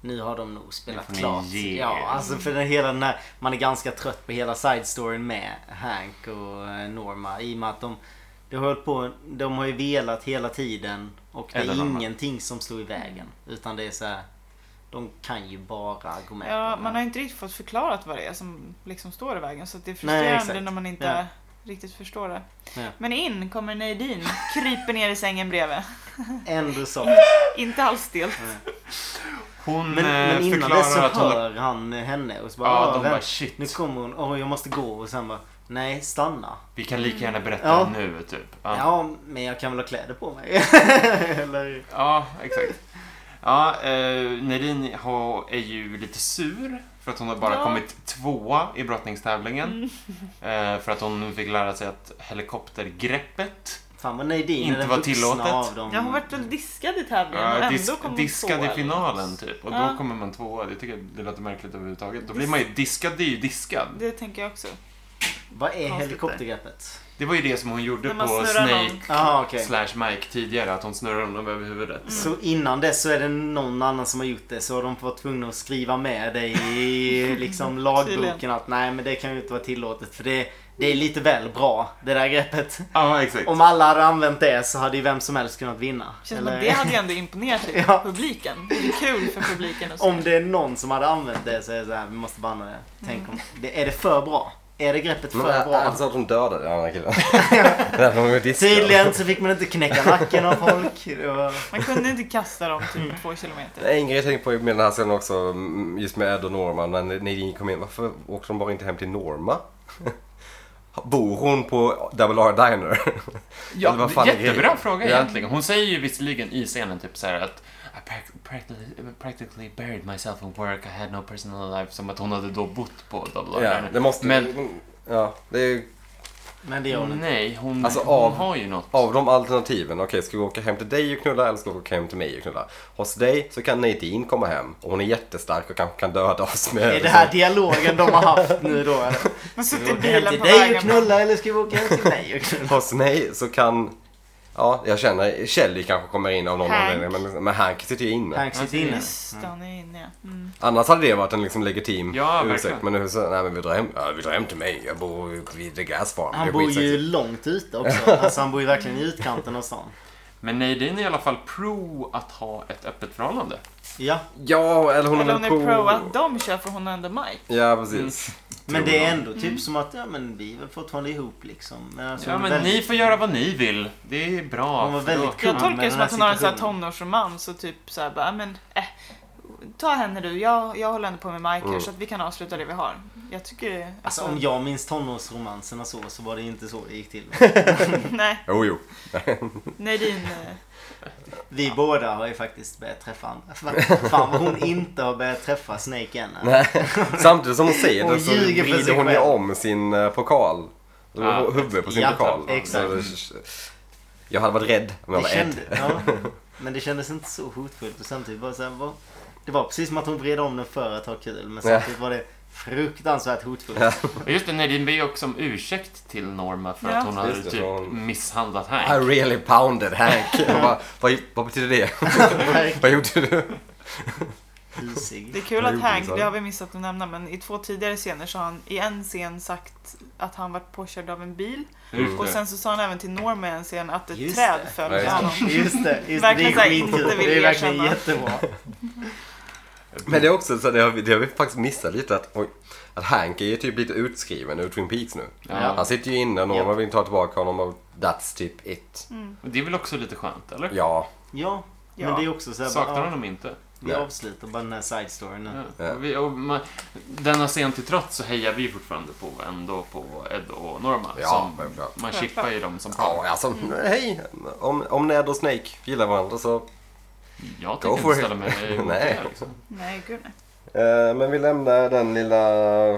Nu har de nog spelat Nu får ni klart. ge Ja, er. alltså för den hela den här, man är ganska trött på hela side storyn med Hank och eh, Norma. I och med att de, de har hållit på, de har ju velat hela tiden. Och det är Eller Norma. ingenting som står i vägen. Utan det är så här. de kan ju bara gå med Ja, på man har det. inte riktigt fått förklarat vad det är som liksom står i vägen så att det är Nej, frustrerande exakt. när man inte Ja. riktigt förstår det. Ja. Men in kommer Nadine, kryper ner i sängen bredvid. Ändå så. Mm. Inte alls stelt. Hon Men, men eh, innan dess så förklarar att hon... hör han henne och så bara, Ja, "Ah, de vem- bara shit. Nu kommer hon, åh jag måste gå och sen bara Nej stanna. Vi kan lika gärna berätta Ja. nu, typ. Ja, Ja men jag kan väl ha kläder på mig. Eller, ja exakt. Ja, eh, Nerine har, är ju lite sur för att hon har bara Ja. kommit tvåa i brottningstävlingen. Eh, för att hon fick lära sig att helikoptergreppet Fan vad Nadine Inte är den var vuxna tillåtet. av dem. Ja, hon vart väl diskad i tävlingen och eh, ändå dis- kom hon diskad tvåa, i eller? finalen typ. Och Ja. då kommer man tvåa. Det tycker jag det låter märkligt överhuvudtaget. Då Dis- blir man ju diskad, det är ju diskad. Det tänker jag också. Vad är Konstigt helikoptergreppet? Det var ju det som hon gjorde När man på snurrar Snake någon. Jaha okej. slash Mike tidigare. Att hon snurrar honom över huvudet. Så innan det så är det någon annan som har gjort det så har de varit tvungna att skriva med det i liksom lagboken Tydligen. att nej men det kan ju inte vara tillåtet för det, det är lite väl bra det där greppet. Ja, exakt. Om alla hade använt det så hade ju vem som helst kunnat vinna. Känns som Eller- att det hade ju ändå imponerat lite Ja. på publiken. Det är kul för publiken att se. Om det är någon som hade använt det så är det så här, vi måste banna det. Tänk om, det, är det för bra? Är det greppet Men alltså- för bra? han sa att hon dödade den andra killen. Därför hon blev diskad. Tydligen så fick man inte knäcka nacken av folk. Det var... Man kunde inte kasta dem Mm. typ två kilometer. En grej jag tänkte på med den här scenen också, mm, just med Ed och Norma, när Nadine kom in. Varför åkte de bara inte hem till Norma? Bor hon på Double R Diner? Ja, Eller vad fan är jättebra grejen? fråga Ja. egentligen. Hon säger ju visserligen i scenen typ så här att I prac- practically, practically buried myself in work, I had no personal life. Som att hon hade då bott på Double Ja, Iron. det måste... Men- Ja, det är, Men det gör hon inte. Nej, hon, Alltså, hon av- har ju något. av de alternativen, okej ska vi åka hem till dig och knulla eller ska vi åka hem till mig och knulla? Hos dig så kan Nadine komma hem och hon är jättestark och kanske kan döda oss med... Är det här dialogen de har haft nu då eller? Man Ska sitter vi i åka hem bilen till på dig och vägen. bara, knulla eller ska vi åka hem till mig och knulla? Hos mig så kan... Ja, jag känner Kelly kanske kommer in av någon Hank. anledning, men, men Hank sitter ju inne. Hank sitter inne. Just det, han är inne ja. mm. Annars hade det varit en liksom legitim Ja, ursäkt. verkligen. Men nu så, nej men vi drar hem, ja, vi drar hem till mig. Jag bor ju vid The Gas Farm. Det Han är bor ju skitsexigt. långt ute också. Alltså han bor ju verkligen i utkanten av stan. Men Nadine är i alla fall pro att ha ett öppet förhållande. Ja, Ja, eller hon Eller är hon är pro... pro att de kör för hon har ändå Mike. Ja, precis. men Tror det är jag. ändå typ som att ja men vi är väl fortfarande ihop liksom. Men alltså, ja, men väldigt- ni får göra vad ni vill. Det är bra. Hon var för väldigt då- cool. Jag Ja, tolkar men det som den att här hon har en sån här situationen. tonårsromans och typ såhär bara, men eh, ta henne du, jag, jag håller ändå på med Mike här Mm. så att vi kan avsluta det vi har. Jag tycker... Alltså om jag minns tonårsromanserna så, så var det inte så det gick till. Nej, Jo, jo. nej din... eh, Vi båda har ju faktiskt börjat träffa andra. Fan vad hon inte har börjat träffa Snake än. Nej. Samtidigt som hon säger Hon det så ljuger för sig vrider hon ju själv. om sin eh, pokal. Ja. Ja. Huvudet på sin Ja, pokal. exakt. Så det- Jag hade varit rädd om Det jag var kände, Ed. ja, men det kändes inte så hotfullt och samtidigt var det så här, var, Det var precis som att hon vred om den för att ha kul men Ja. samtidigt var det fruktansvärt hotfullt. Och Just det, Nadine ber ju också om ursäkt till Norma för Ja. att hon har Just det, typ för hon- misshandlat I Hank. really pounded Hank. Jag bara, vad, vad betyder det? vad gjorde du? Det är Husig. kul Jag att gjorde Hank, så här. det har vi missat att nämna, men i två tidigare scener så har han i en scen sagt att han varit påkörd av en bil. Just Och det. sen så sa han även till Norma i en scen att ett Just träd det. föll Ja, på just det. honom. Just det, just det, det Verkligen är så här, skitkul. inte vill Det är verkligen erkänna. jättebra. Men det är också så det har, vi, det har vi faktiskt missat lite att, oj, att Hank är ju typ lite utskriven ur Twin Peaks nu. Ja. Han sitter ju inne och Ja. Mm. Norman vill ta tillbaka honom och that's typ it. Och Det är väl också lite skönt, eller? Ja, Ja, men Ja. det är också så här, bara, Saknar ja, honom inte? vi avslutar bara den här side storyn nu. Ja. Och vi, och man, denna scen till trots så hejar vi fortfarande på ändå på Ed och Norma. Ja, som, självklart. man chippar ju dem som par. ja alltså Mm. hej! Om, om Ned och Snake gillar varandra så... Jag Go tänker for inte it. ställa mig emot Nej. det. Liksom. Nej, gud nej. Eh, men vi lämnar den lilla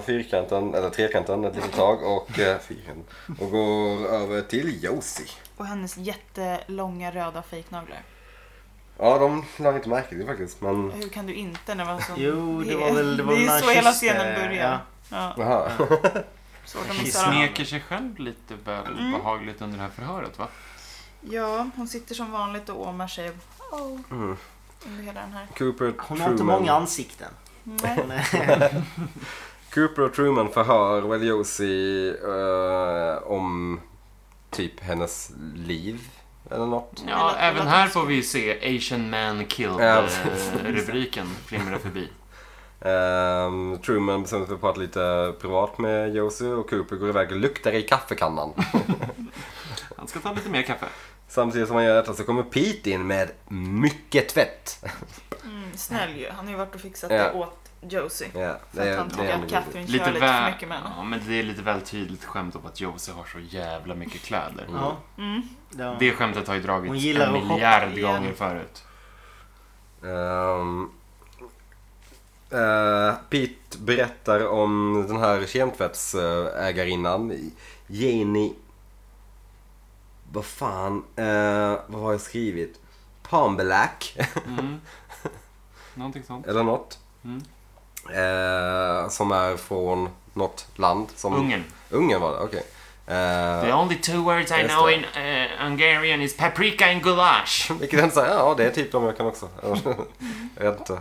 fyrkanten, eller trekanten ett litet tag och, eh, fyrkanten, och går över till Josie. Och hennes jättelånga röda fejknaglar. Ja, de lade inte märke till faktiskt men... Hur kan du inte när man så... Jo, det var väl... Det, var är väl när så hela kysste- scenen börjar. ja. Ja. Jaha. svårt att Kiss Vi missa dem. smeker sig själv lite väl Mm. behagligt under det här förhöret, va? Ja, hon sitter som vanligt och åmar sig. Oh. Mm. Under hela den här. Cooper Hon har inte många ansikten. Nej. Hon är- Cooper och Truman förhör väl Josie eh, om typ hennes liv eller något. Det Ja, lät- även lät här också. får vi se Asian Man Ja, Killed-rubriken flimra förbi. Ehm, Truman bestämmer sig för att prata lite privat med Josie och Cooper går iväg och luktar i kaffekannan. Han ska ta lite mer kaffe. Samtidigt som han gör detta så kommer Pete in med mycket tvätt. Mm, snäll ju. Han har ju varit och fixat Ja. det åt Josie. Ja, För att han tycker att Catherine Lite kör lite för väl... mycket med henne. Ja, men det är lite väl tydligt skämt om att Josie har så jävla mycket kläder. Ja, Mm. det var- Det skämtet har ju Hon dragits gillar en att hoppa miljard igen. gånger förut. Ehm, eh, Pete berättar om den här kemtvättsägarinnan. Janie... Vad fan? eh, vad har jag skrivit? Palmblack. Mm. Någonting sånt. Eller något. Mm. Eh, som är från något land. Som... Ungern. Ungern var det, okej. Eh, The only two words I Just know det. in eh, Hungarian is paprika and goulash. Vilket jag säger, ja det är typ de jag kan också. jag vet inte.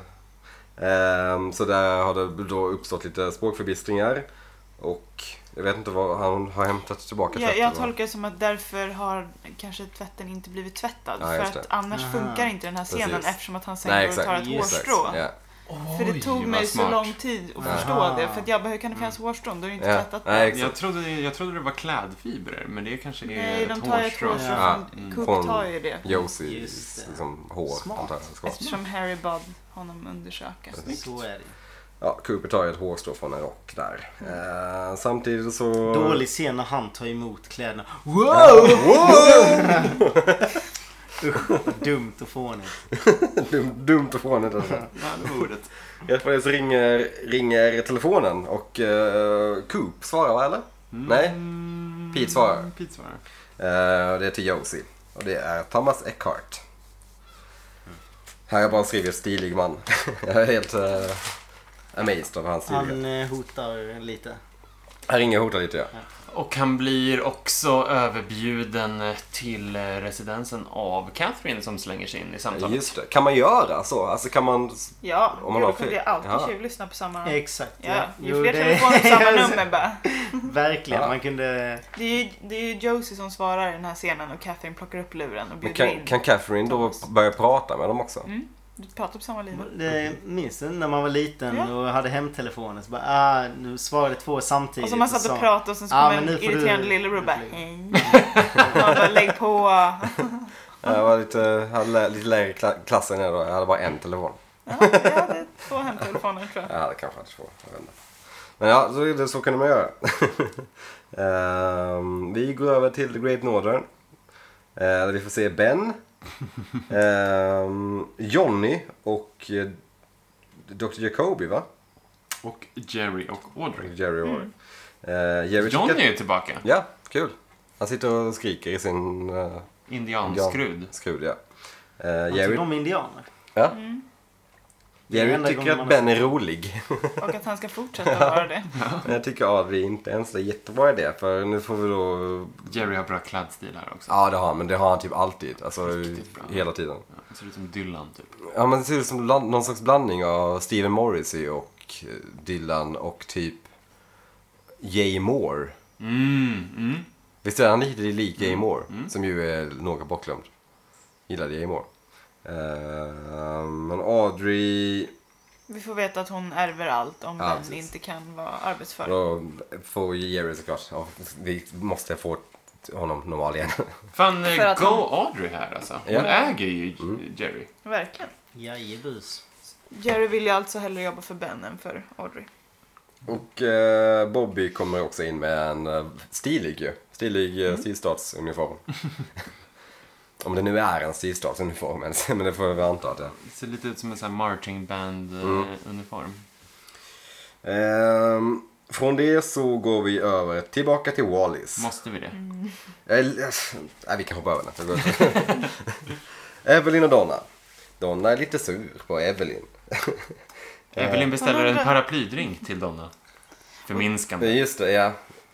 Ehm, så där har det då uppstått lite språkförbistringar. Och jag vet inte vad han har hämtat tillbaka Jag, tvätten, jag va? tolkar det som att därför har kanske tvätten inte blivit tvättad. Ja, för just att det. annars Aha. funkar inte den här scenen Precis. eftersom att han sen Nej, går och tar ett exakt. hårstrå. Ja. För det tog vad mig så smart. lång tid att Aha. förstå det. För att jag bara, hur kan det finnas hårstrån? Då är det inte Ja. tvättat. Nej, Nej, exakt. Jag trodde, jag trodde det var klädfibrer, men det kanske är de ett tar ju ett hårstrå. hårstrå Ja. från... Mm. Cook Från- tar ju det. Just Josies det. liksom, hår. Smart. antar jag, ska vara. Eftersom Harry bad honom undersöka. Så är det ju. Ja, Cooper tar ett hårstrå från en rock där. Ehm, samtidigt så... Dålig scen när han tar emot kläderna. Wow! Oh! Dumt och fånigt. Dum, dumt att få henne där. Ja, det var ordet. I alla fall så ringer, ringer telefonen och eh, Coop svarar va eller? Nej? Mm, Pete svarar. Pete svarar. Eh, och det är till Josie. Och det är Thomas Eckhart. Här har jag bara skrivit stilig man. jag är helt eh, amazed av hans stilighet. Han eh, hotar lite. Han ringer och hotar lite ja. Och han blir också överbjuden till eh, residensen av Catherine som slänger sig in i samtalet. Just det. Kan man göra så? Alltså kan man... Ja, Om man gud, har då kunde fri- jag alltid Ja. tjuvlyssna på samma... Exakt. Ja, ju Jo, fler det- Alltså- telefoner på samma nummer bara. Verkligen. Ja. Man kunde... Det är, ju, det är ju Josie som svarar i den här scenen och Catherine plockar upp luren och Men bjuder kan, in. kan Catherine då börja prata med dem också? Du pratar på samma linje. Det, minns du när man var liten Ja. och hade hemtelefonen? Så bara, ah, nu svarade två samtidigt. Och så man och satt och sa- pratade och sen så kom Typ, Ja, men en nu får du- irriterande lillebror nu bara får du- hej. Man bara lägg på. Jag var lite, hade lä- lite lägre kla- klass än jag då. Jag hade bara en telefon. Ja, jag hade två hemtelefoner tror jag. Ja, det kanske hade svårt. Jag vet inte. Men ja, så, är det, så kunde man göra. Ehm, vi går över till The Great Northern. Eh, där vi får se Ben, ehm, Johnny och eh, Dr. Jacobi va? Och Jerry och Mm. Audrey. Jerry Orr. Eh, Jerry Johnny tycker är tillbaka. att- Ja, kul. Han sitter och skriker i sin uh, Indianskrud. skrud. Ja. Eh, Han Jerry, tyckte om Alltså, indianer. ja. Det är Jerry enda tycker gången att man har Ben är rolig. Och att han ska fortsätta vara det. Men jag tycker att det är inte ens en jättebra idé. För nu får vi då Jerry har bra klädstil här också. Ja, det har han. Men det har han typ alltid. Alltså, Riktigt bra. hela tiden. Han ser ut som Dylan, typ. Ja, men det ser ut som bland, någon slags blandning av Stephen Morrissey och eh, Dylan och typ Jay Moore. Mm, mm. Visst är han lite lik Jay Moore? Som ju är något bortglömd. Gillade Jay Moore. Eh, men Audrey Vi får veta att hon ärver allt om Ja, Ben precis. inte kan vara arbetsför. då får Jerry såklart. Ja, vi måste få honom normal igen. Fan, För eh, att go han- Audrey här alltså. Hon Ja. Mm. äger ju Jerry. Verkligen. Jajebus. Jerry vill ju alltså hellre jobba för Ben än för Audrey. Och eh, Bobby kommer också in med en eh, stilig ju. Stilig eh, sydstatsuniform. Om det nu är en sydstatsuniform ens, men det får vi anta att det är. Ser lite ut som en sån här marching eh, Mm. band-uniform. Ehm, Från det så går vi över tillbaka till Wallis. Måste vi det? Jag är- Nej, vi kan hoppa över den. Jag går- Evelyn och Donna. Donna är lite sur på Evelyn. Evelyn beställer en paraplydrink till Donna. Förminskande. Men just det, ja.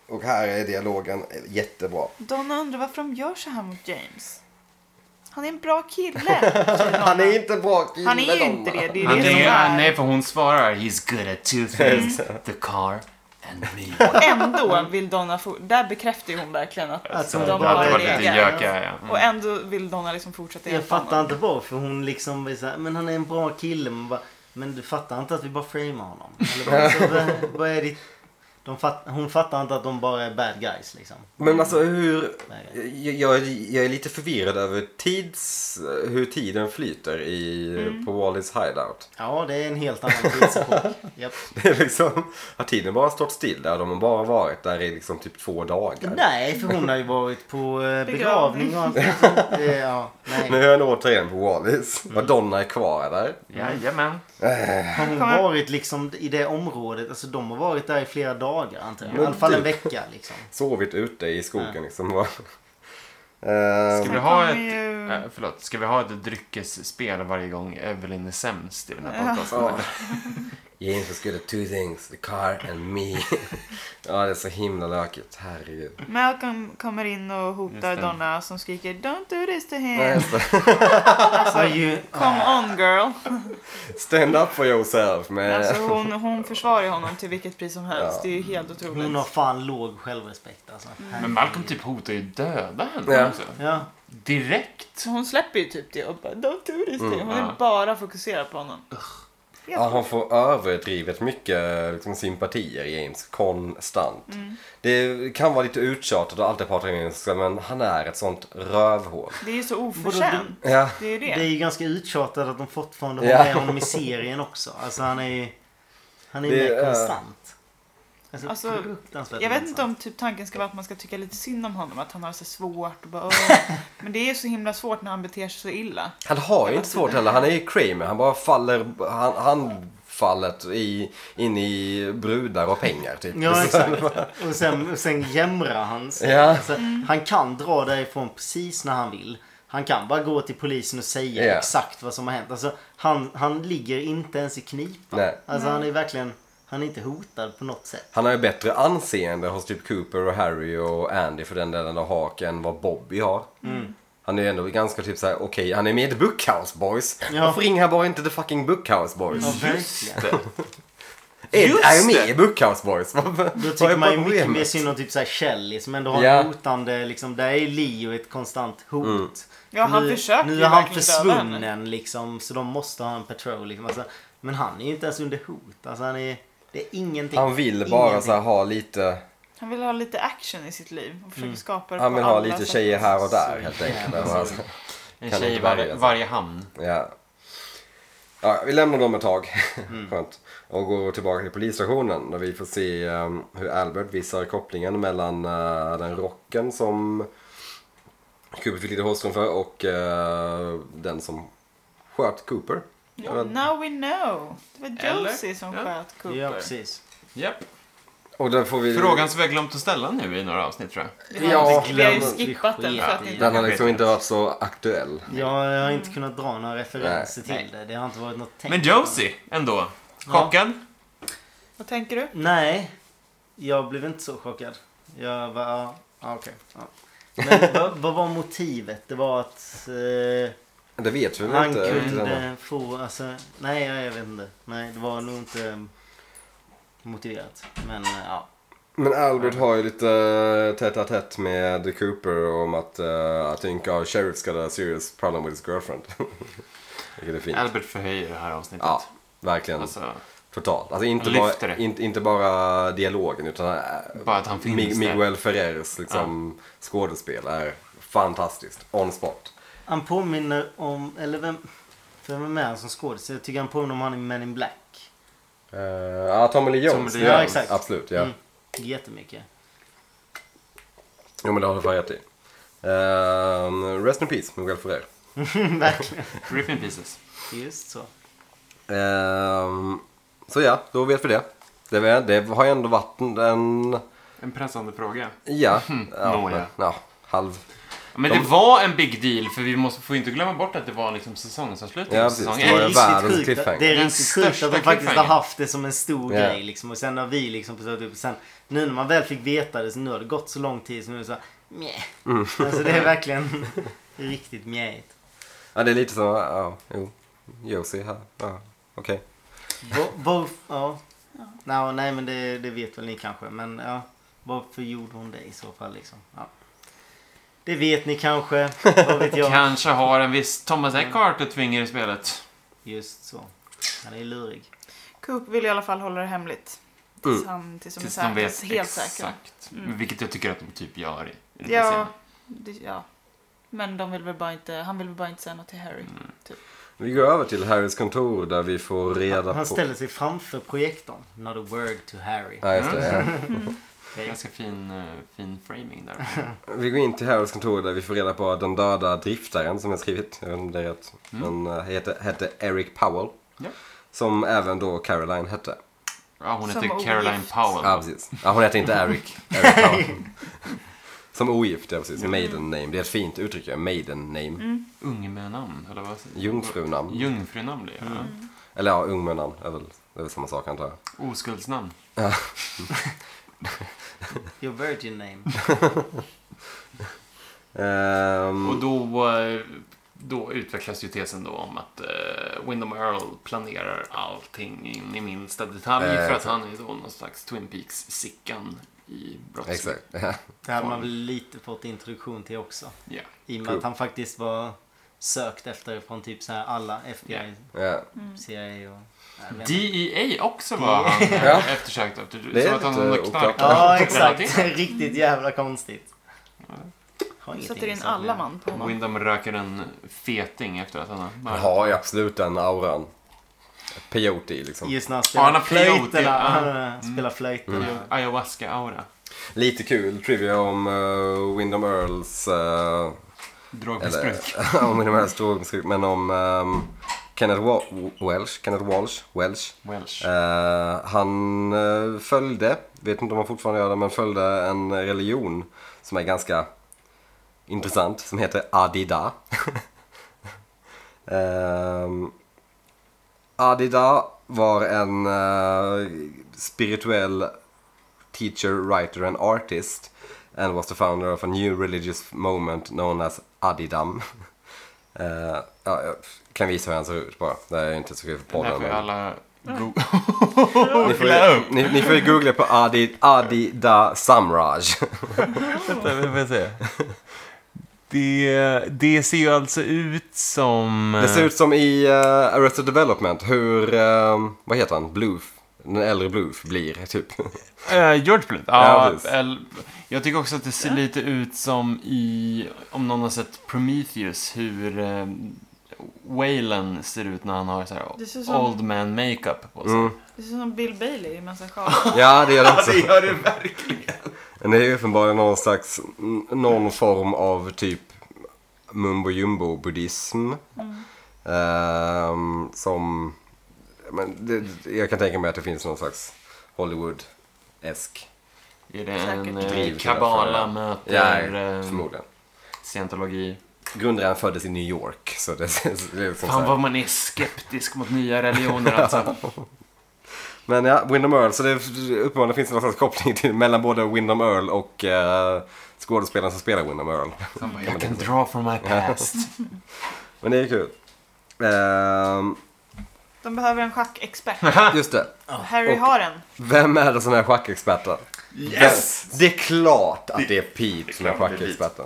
Och här är dialogen jättebra. Donna undrar varför de gör så här mot James. Han är en bra kille. säger Donna. Han är inte bra kille, Han är ju Donna. inte det. Det är Han det som är, är... nej, för hon svarar He's good at two things. The car and me. Ändå vill Donna... For... Där bekräftar ju hon verkligen att, Att de hon Att bara det var har lite legat. legat. gökiga, ja. Mm. Och ändå vill Donna liksom fortsätta Jag hjälpa fattar honom. inte varför hon liksom blir såhär, men han är en bra kille. Man bara, men du fattar inte att vi bara framar honom? Eller bara, så, alltså, vad, vad är ditt... de fat, hon fattar inte att de bara är bad guys liksom. Men alltså hur... Nej. Jag, jag, är- jag är lite förvirrad över tids... hur tiden flyter i, på Wallis hideout. Ja, det är en helt annan tidsepock. Japp. Det är liksom... Har tiden bara stått still där? De har bara varit där i liksom typ två dagar. Nej, för hon har ju varit på eh, begravning och allt. Eh, Ja, Nu nej. är jag återigen på Wallis. Och Donna är kvar där. Jajamän. Har hon Kommer- varit liksom i det området? Alltså de har varit där i flera dagar antar jag. I Men alla fall en typ. vecka liksom. Sovit ute i skogen liksom. Ska Ehm, vi ha Sen kommer ett... ju- Äh, förlåt. Ska vi ha ett dryckesspel varje gång Evelyn är sämst i den här podcasten? Ja. James was good at two things, the car and me. ja, det är så himla lökigt. Herregud. Mm. Malcolm kommer in och hotar Just det. Donna som skriker Don't do this to Nej, him. alltså, Alltså, ju, Come Äh. on girl. Stand up for yourself. Äh. Med... Alltså hon, hon försvarar ju honom till vilket pris som helst. Det Ja. är ju helt otroligt. hon har fan låg självrespekt alltså. Mm. Men Malcolm typ hotar ju döda henne Ja. också. Ja, Direkt. Så hon släpper ju typ det och bara Don't do this to Mm. him. Hon ja. är bara fokuserad på honom. Ja, han får överdrivet mycket liksom, sympatier, James, konstant. Mm. Det kan vara lite uttjatat och alltid pratar engelska, men han är ett sånt rövhål. Det är ju så oförtjänt. Ja, Det är ju det är det. ju ganska uttjatat att de fortfarande har Ja. med honom i serien också. Alltså han är ju... Han är Det mer är- konstant. Alltså, Alltså, fruktansvärt Jag vet intressant. inte om typ tanken ska vara att man ska tycka lite synd om honom. Att han har så svårt och bara "Åh." Men det är ju så himla svårt när han beter sig så illa. han har ju inte svårt heller. Han är ju Kramer. Han bara faller han, handfallet i, in i brudar och pengar, typ. Ja, exakt. Och sen, och sen jämrar han sig. Ja. Alltså, Han kan dra därifrån precis när han vill. Han kan bara gå till polisen och säga Ja. exakt vad som har hänt. Alltså, han, han ligger inte ens i knipa. Nej. Alltså, han är verkligen han är inte hotad på något sätt. Han har ju bättre anseende hos typ Cooper och Harry och Andy för den delen och Hawk än vad Bobby har. Mm. Han är ju ändå ganska typ såhär, okej, han är med i The Bookhouse Boys. Ja. Varför ringer han bara inte The fucking Bookhouse Boys? Ja, verkligen. Ed Just är ju med det. i Bookhouse Boys. Vad- Då vad är tycker man ju mycket problemet? mer synd om typ såhär Shelley som ändå har Ja. Mm. en hotande liksom. Där är Leo ett konstant hot. Ja, han nu, försöker Nu ju är han verkligen döda henne. försvunnen liksom. Så de måste ha en patrol liksom. Alltså, men han är ju inte ens under hot. Alltså han är... Det är ingenting. Han vill bara Ingenting. så här, ha lite, Han vill ha lite action i sitt liv och Mm. försöker skapa det han på vill ha alla lite sätt. tjejer här och där Så helt jävla enkelt. synd. Alltså, En Kan tjej i inte varje, välja, alltså. varje hamn. ja. Ja, vi lämnar dem ett tag. Mm. Skönt. Och går tillbaka till polisstationen där vi får se ehm, hur Albert visar kopplingen mellan eh, den rocken som Cooper fick lite hårstrån för och eh, den som sköt Cooper. Ja, now we know. Det var Eller? Josie som Ja. sköt Cooper. Ja, precis. Japp. Och där får vi... Frågan som vi har glömt att ställa nu i några avsnitt tror jag. Ja, Vi har ju glöm- skippat den för att Ja. det inte... den har liksom inte varit så aktuell. Jag har Mm. inte kunnat dra några referenser till det. Det har inte varit något tänkt. Men Josie ändå. Chockad? Vad tänker du? Nej. Jag blev inte så chockad. Jag var... Ja, ah, okej. Ja. Men vad, vad var motivet? Det var att eh, Det vet vi väl han inte. riktigt ännu. kunde få... Alltså, nej, jag jag vet inte. Nej, det var nog inte eh, motiverat. Men eh, ja. Men Albert har ju lite tätt tätt tätt med Cooper om att uh, I think our sheriff's got a serious problem with his girlfriend. Vilket är fint. Albert förhöjer det här avsnittet. Ja, verkligen. Alltså, Totalt. Alltså inte Han lyfter bara, det. in, inte bara dialogen utan eh, bara att han finns Mi- där. Miguel Ferreres liksom, skådespel är fantastiskt. On spot. Han påminner om... Eller vem... För vem är han som skådis? Jag tycker han påminner om han i Men in Black. Eh, Ja, Tommy Lee Jones. Tommy det Lee gör Jones. han. Exakt. Absolut, ja. Mm. Jättemycket. Jo, men det har du fan rätt i. Eh, rest in peace, Miguel Ferrer. Verkligen. Rip in pieces. Just så. Ehm, så ja, då vet vi det. Det, var- det har ju ändå varit en... en En pressande fråga. ja, ja, nåja. men, ja, halv... Men det var en big deal för vi måste, får inte glömma bort att det var liksom säsongsavslutning Ja, på precis. säsong Det var ett. ju- världens riktigt sjukt. cliffhanger. att- Det är Den riktigt sjukt största att de faktiskt har cliffhanger. haft det som en stor Ja. grej liksom. Och sen när vi liksom plötsligt upp. Sen, nu när man väl fick veta det så nu har det gått så lång tid så nu är det såhär mjäh. Mm. Alltså det är verkligen riktigt mjähigt. Ja, det är lite så... Ja, jo. Josie här. Ja, okej. Var- Var, ja. Nå, nej men det, det vet väl ni kanske. Men ja. Varför gjorde hon det i så fall liksom? Ja. Det vet ni kanske. Vad vet jag. Kanske har en viss Thomas Eckhart ett finger i spelet. Just så. Han är lurig. Cooper vill i alla fall hålla det hemligt. Tills, han, tills de Mm. Tills är de säkra, vet helt säkra. exakt. Vilket jag tycker att de typ gör i, i den här Ja, scenen. det, ja. Men de vill väl bara inte, han vill väl bara inte säga något till Harry. Mm. Typ. Vi går över till Harrys kontor där vi får reda Han på... ställer sig framför projektorn. Not a word to Harry. Ja, just det, ja. Mm. Det är ganska fin, eh, fin framing där. Vi går in till Harrys kontor där vi får reda på att den döda driftaren som jag skrivit. Jag vet inte om det är rätt. Mm. Men eh, hette, hette Eric Powell. Ja. Som även då Caroline hette. Ja, hon Som heter var Caroline ogift. Powell. Ja, precis. Ja, hon hette inte Eric. Eric Powell. Som ogift, ja precis. Maiden name. Det är ett fint uttryck, ja. Maiden name. Mm. Mm. Ungmönamn, eller vad säger Jungfrunamn. Jungfrunamn blir det, ja. Eller ja, ungmönamn. Det är väl, det är väl samma sak antar jag. Mm. Oskuldsnamn. Your virgin name. Ehm, Och då, eh, då utvecklas ju tesen då om att eh, Windham Earl planerar allting in i minsta detalj Eh, för att exakt. han är då någon slags Twin Peaks-Sickan i brottslighet. Exakt. Ja. Det hade man väl lite fått introduktion till också. Ja. I och med Cool. att han faktiskt var sökt efter från typ så här alla FBI, Ja. CIA och... Nej, jag vet inte. DEA E också var han eh, Ja. eftersökt efter. Det är Som att han lite har oklart. knark. Ja, exakt. Riktigt jävla konstigt. Har Nu ingenting Sätter in sånt med- alla man på honom. Windham röker en feting efter att han har... Han har ju absolut den auran. Peyote liksom. Just när han Ja, han spelar har peyote, flöjterna. ja. Mm. Han eh, spelar flöjterna. Mm. Ayahuasca-aura. Lite kul trivia om uh, Windom Earls... eh, Drogmissbruk. eller, om Windom Earls drogmissbruk, men om ehm, Kenneth Wa- Welsh. Kenneth Walsh. Welsh. Welsh. Eh, han eh, följde, vet inte om han fortfarande gör det, men följde en religion som är ganska intressant, som heter Adida. Ehm, Adida var en eh, spirituell teacher, writer and artist and was the founder of a new religious moment known as Adidam. Eh, ja, jag kan visa hur han ser ut bara. Det är inte så kul Det för där podden. får ju men- alla go- ni får, ni, ni får ju googla på Adi, Adi da Samraj. Vänta, vi får se. Det, det ser ju alltså ut som... Det ser ut som i eh, Arrested Development hur, eh, vad heter han, Bluth, den äldre Bluth blir typ. Eh, George Blunt. Ja, Ja, precis. el, jag tycker också att det ser lite ut som i, om någon har sett Prometheus, hur eh, Waylon ser ut när han har så här, Det ser som- old man makeup på sig. Mm. Det ser ut som Bill Bailey i Massa Charles. Ja, det gör det också. gör det eh, verkligen. Men det är ju uppenbarligen någon slags, n- någon form av typ mumbo jumbo buddhism. Ehm, som, men det, jag kan tänka mig att det finns någon slags Hollywood-esk. Är det en Säkert. eh, Driv till kabbala därför. möter Ja, eh, förmodligen. scientologi? Grundaren föddes i New York, så det, det är liksom så Fan här. vad man är skeptisk mot nya religioner alltså. Men ja, Windom Earl. Så det uppenbarligen finns det någon slags koppling till, mellan både Windom Earl och eh, skådespelaren som spelar Windom Earl. Han bara, jag kan dra from my past. Men det är kul. Ehm, De behöver en schackexpert. just det. Harry Och- har en. Vem är det som är schackexperten? Yes! Vem- Det är klart att det är Pete som är schackexperten.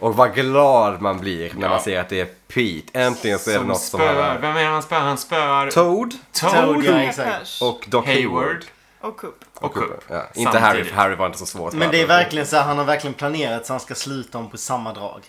Och vad glad man blir när man Ja. ser att det är Pete. Äntligen så är det Som något som han spöar. är. Vem är det han spöar? Han spöar Toad Toad, Ja, Gunnar exakt. Pers och Doc Hayward Hayward. och Coop. och Cup. Ja, inte Harry, för Harry var inte så svår att Men det är spöa. verkligen så här, han har verkligen planerat så han ska sluta dem på samma drag.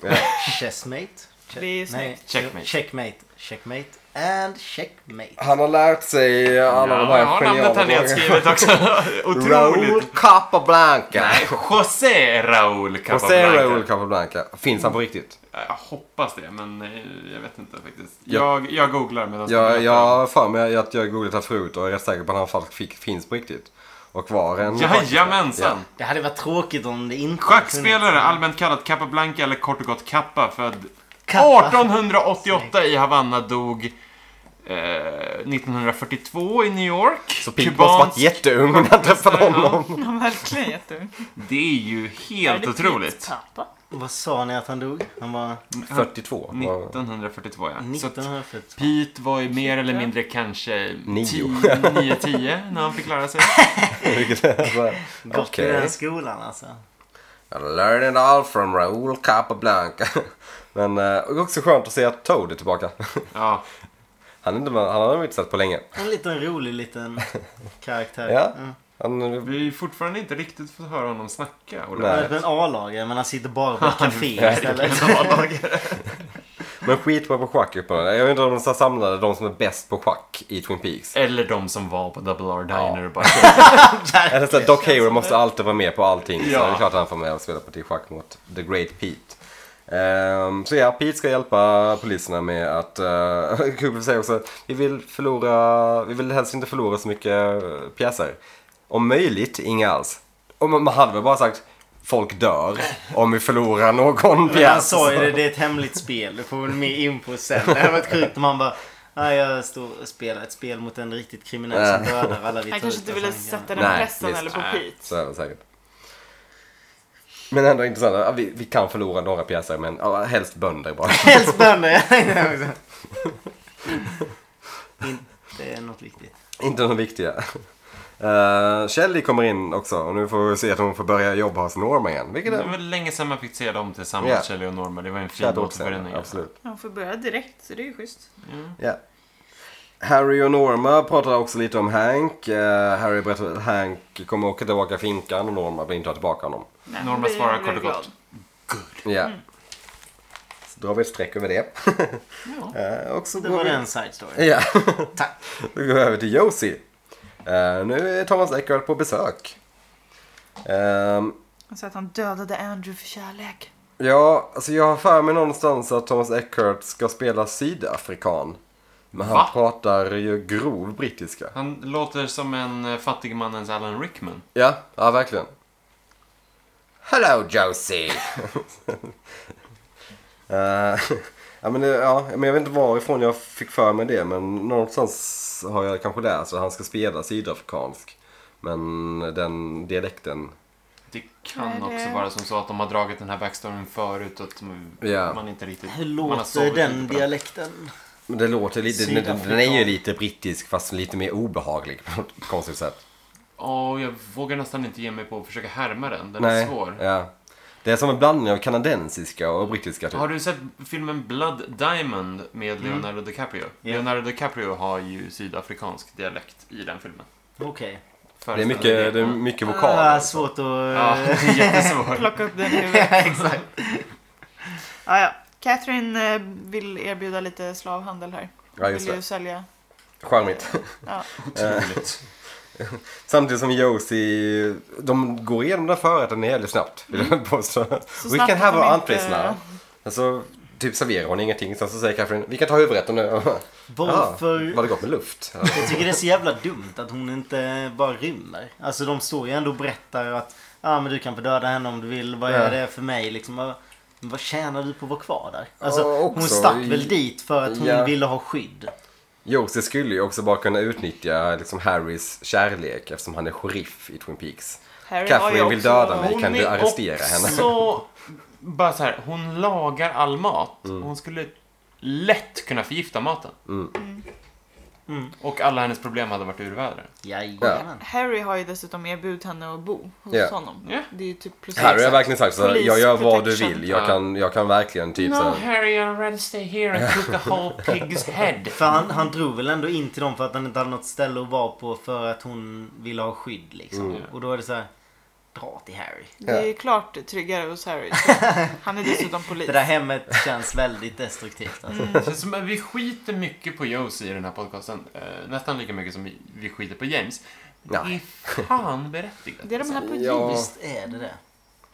Chessmate. Che- Det är snyggt. nej, Checkmate. Checkmate. Checkmate. And checkmate. Han har lärt sig alla de här Ja, namnet geniala har nedskrivet också. Raúl Otroligt. Capablanca. Nej, José Raúl Och sen Capablanca. Raúl Capablanca. Finns han på riktigt? Jag hoppas det, men eh, jag vet inte faktiskt. Jag, jag googlar medan du Jag berättar. jag har för mig att jag googlat här förut och är rätt säker på att han faktiskt fick- finns på riktigt. Och var en... Jajamensan! Det hade varit tråkigt om det inte Schackspelare, allmänt kallad Capablanca eller kort och gott Kappa, född Kappa. 1888 i Havanna, dog eh, 1942 i New York. Så Pete måste varit jätteung när han träffade honom. Han var verkligen jätteung. Det är ju helt otroligt. Pappa. Vad sa ni att han dog? Han var 42. var- 1942 ja. Så att 1940. Pete var ju mer eller mindre kanske Nio. 9-10 när han fick lära sig. vilket är så här, Gått i Okej. den skolan alltså. I learned it all from Raúl Capablanca. Men eh, och också skönt att se att Toad är tillbaka. Ja, Han, är inte, med- han har vi inte sett på länge. En liten rolig liten karaktär. Ja. Mm. Han, Vi har ju fortfarande inte riktigt fått höra honom snacka. Och Nej. Han är en A-lagare men han sitter bara på ett café istället. men skitbra på schack uppenbarligen. Jag undrar om de så samlade de som är bäst på schack i Twin Peaks. Eller de som var på Double R Diner Ja. och bara "Okej, Eller så här, Doc Hayward måste alltid vara med på allting. Så Ja. det är klart han får med och spela på schack mot The Great Pete. Ehm, så ja, Pete ska hjälpa poliserna med att... Uh, Cooper säger också vi vill förlora... Vi vill helst inte förlora så mycket eh, pjäser. Om möjligt, inga alls. Om man man hade väl bara sagt folk dör om vi förlorar någon Men han pjäs. sa ju det, det är ett hemligt spel. Du får väl mer info sen. Det hade varit sjukt om han bara Nej, jag står och spelar ett spel mot en riktigt kriminell som dödar alla vi tar Han kanske ut inte och ville sen- sätta den Nej, pressen visst. eller på Nej. Pete. Så är det säkert. Men ändå intressant. Ja, Vi, vi kan förlora några pjäser men ja, helst bönder bara. Helst bönder! Inte är något viktigt. Inte de viktiga. Uh, Shelly kommer in också och nu får vi se att hon får börja jobba hos Norma igen. Vilket det Mm. är var länge sedan man fick se dem tillsammans, Ja. Shelley och Norma. Det var en fin fjärde året sedan, återförening. Absolut. Han får börja direkt, så det är ju schysst. Ja. Harry och Norma pratar också lite om Hank. Eh, Harry berättar att Hank kommer åka tillbaka till finkan och Norma vill inte ha tillbaka honom. Nej, Norma då blir jag svarar kort och glad. gott. Ja. Mm. Så drar vi ett streck över det. Eh, och så Det går var vi- en side Eh, story. Ja. Tack. Då går vi över till Josie. Eh, nu är Thomas Eckert på besök. Ehm, Han säger att han dödade Andrew för kärlek. Ja, alltså jag har för mig någonstans att Thomas Eckhart ska spela sydafrikan. Men han Va? pratar ju grov brittiska. Han låter som en eh, fattigmannens Alan Rickman. Ja, ja verkligen. Hello Josie! Eh, ja, men det, ja, men jag vet inte varifrån jag fick för mig det, men någonstans har jag kanske läst att han ska spela sydafrikansk. Men den dialekten Det kan Nej, det- också vara som så att de har dragit den här backstoryn förut och att man- Ja. man inte riktigt... Hur man har sovit låter lite den på den. dialekten? Men Det låter lite, den, den är ju Sydafrikan. lite brittisk fast lite mer obehaglig på något konstigt sätt. Ja, jag vågar nästan inte ge mig på att försöka härma den. Den är svår. Ja. Det är som en blandning av kanadensiska och brittiska typ. Mm. Har du sett filmen Blood Diamond med Leonardo DiCaprio? Leonardo DiCaprio har ju sydafrikansk dialekt i den filmen. Okej. Det är Föreställer dig mycket, det är mycket liksom. vokaler. Ah, svårt att... Ja, det är jättesvårt. Plocka upp den i Ja, huvudet. exakt. Ja, ja. Catherine eh, vill erbjuda lite slavhandel här. Ja, just vill ju det. sälja. Charmigt. Ja. Otroligt. Samtidigt som Josie, de går igenom den förrätten jävligt snabbt. Vill jag påstå. We Mm. snabbt can att have de our inte- entrees now. Alltså, typ serverar hon ingenting. Sen så säger Catherine, vi kan ta huvudrätten nu. Varför... Ja, var det gott med luft? Ja. Jag tycker det är så jävla dumt att hon inte bara rymmer. Alltså de står ju ändå och berättar att ah, men du kan få döda henne om du vill. Vad Ja. är det för mig? Liksom, "Ah, men vad tjänar du på att vara kvar där? Alltså, Ja, också. hon stack väl dit för att hon Ja. ville ha skydd. Josie skulle ju också bara kunna utnyttja liksom, Harrys kärlek eftersom han är sheriff i Twin Peaks. Harry har ju Catherine vill också- döda mig, Hon kan är du arrestera henne? också- Bara så här, hon lagar all mat. Mm. Hon skulle lätt kunna förgifta maten. Mm. Och alla hennes problem hade varit ur världen. Jajamän. Harry har ju dessutom erbjudit henne att bo hos Ja. honom. Ja. Det är ju typ plus Harry har verkligen sagt såhär, Police jag gör vad du protection. vill. Jag kan, jag kan verkligen typ No såhär. Harry, I'd rather stay here and cook a whole pig's head. För han, han drog väl ändå in till dem för att han inte hade något ställe att vara på för att hon ville ha skydd liksom. Mm. Och då är det så här, dra till Harry. Det är ju klart tryggare hos Harry. Så Han är dessutom polis. Det där hemmet känns väldigt destruktivt alltså. Det känns som att vi skiter mycket på Josie i den här podcasten. Eh, nästan lika mycket som vi- vi skiter på James. Men Det är fan berättigat. Det är de här på Ja. Visst är det det.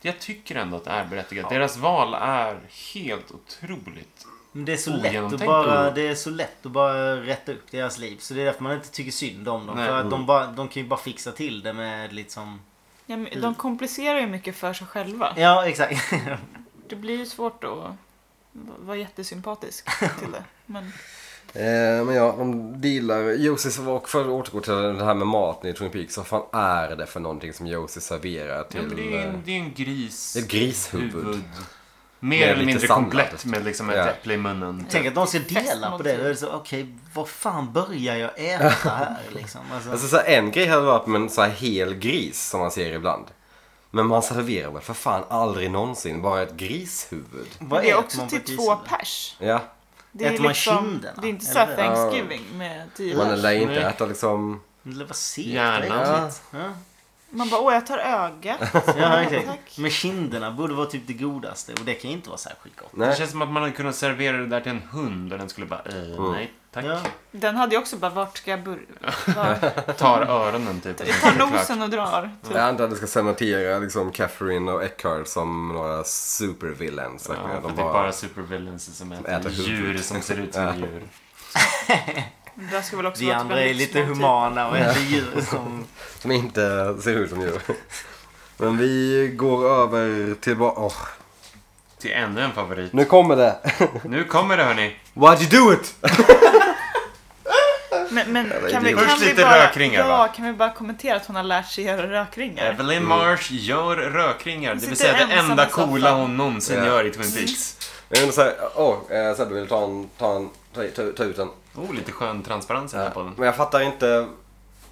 Jag tycker ändå att det är berättigat. Deras val är helt otroligt. Men det är så lätt att Ogenomtänkt bara, ord. det är så lätt att bara rätta upp deras liv. Så det är därför man inte tycker synd om dem. Nej. För att de, bara, de kan ju bara fixa till det med liksom... Ja, men de komplicerar ju mycket för sig själva. Ja, exakt. Det blir ju svårt att v- vara jättesympatisk till det. Men Eh, men ja, de dealar. Josie, var- och för att återgå till det här med maten i Twin Peaks. Vad fan är det för någonting som Josie serverar Ja, men till? det, är eh, en, det är en gris. Ett grishuvud. Mer eller lite mindre sallad. komplett med liksom ett Ja. äpple i munnen. Tänk att de ska dela på det. Festmåltid. Då är det så, okej, vad fan börjar jag äta här liksom? Alltså, Alltså så här, en grej hade varit med en så här hel gris som man ser ibland. Men man serverar väl för fan aldrig någonsin bara ett grishuvud? vad det är äter också man på till ett två gris? pers. Ja, Det är, Äter man liksom, kinderna? det är inte så här Eller? Thanksgiving med tio man pers. lär inte Nej. äta liksom... Men Det var segt. Gärna. det är äckligt. Ja. Man bara, åh jag tar ögat. Ja, exakt. Tack. Men kinderna borde vara typ det godaste och det kan ju inte vara särskilt gott. Det Nej. känns som att man hade kunnat servera det där till en hund och den skulle bara, eh, Mm. nej tack. Ja. Den hade ju också bara, vart ska jag börja? Bara, Tar öronen typ. Tar nosen och drar. Typ. Jag antar att det ska cementera liksom Catherine och Eckhart som några supervillains. Ja, för verkligen. det är de bara supervillains som äter, äter huvud. djur som ser ut som Ja. djur. Det där ska väl också Vi vara ett andra är väldigt lite små typ. humana och äter djur som... Som inte ser ut som djur. Men vi går över till... ba- Åh, Till ännu en favorit. nu kommer det! Nu kommer det hörni. Why'd you do it? Men, men Jävla kan, vi, idiot. kan Först vi lite bara, rökringar, Ja, va? kan vi bara kommentera att hon har lärt sig göra rökringar? Evelyn Marsh gör rökringar. Det Hon vill sitter säga det ensam enda i soffan. coola hon någonsin Ja. gör i Twin Peaks. Jag undrar såhär, åh, eh, Sebbe vill ta en, ta en, ta, ta, ta ut en. Mm. Oh, lite skön transparens i den här podden. Men jag fattar inte.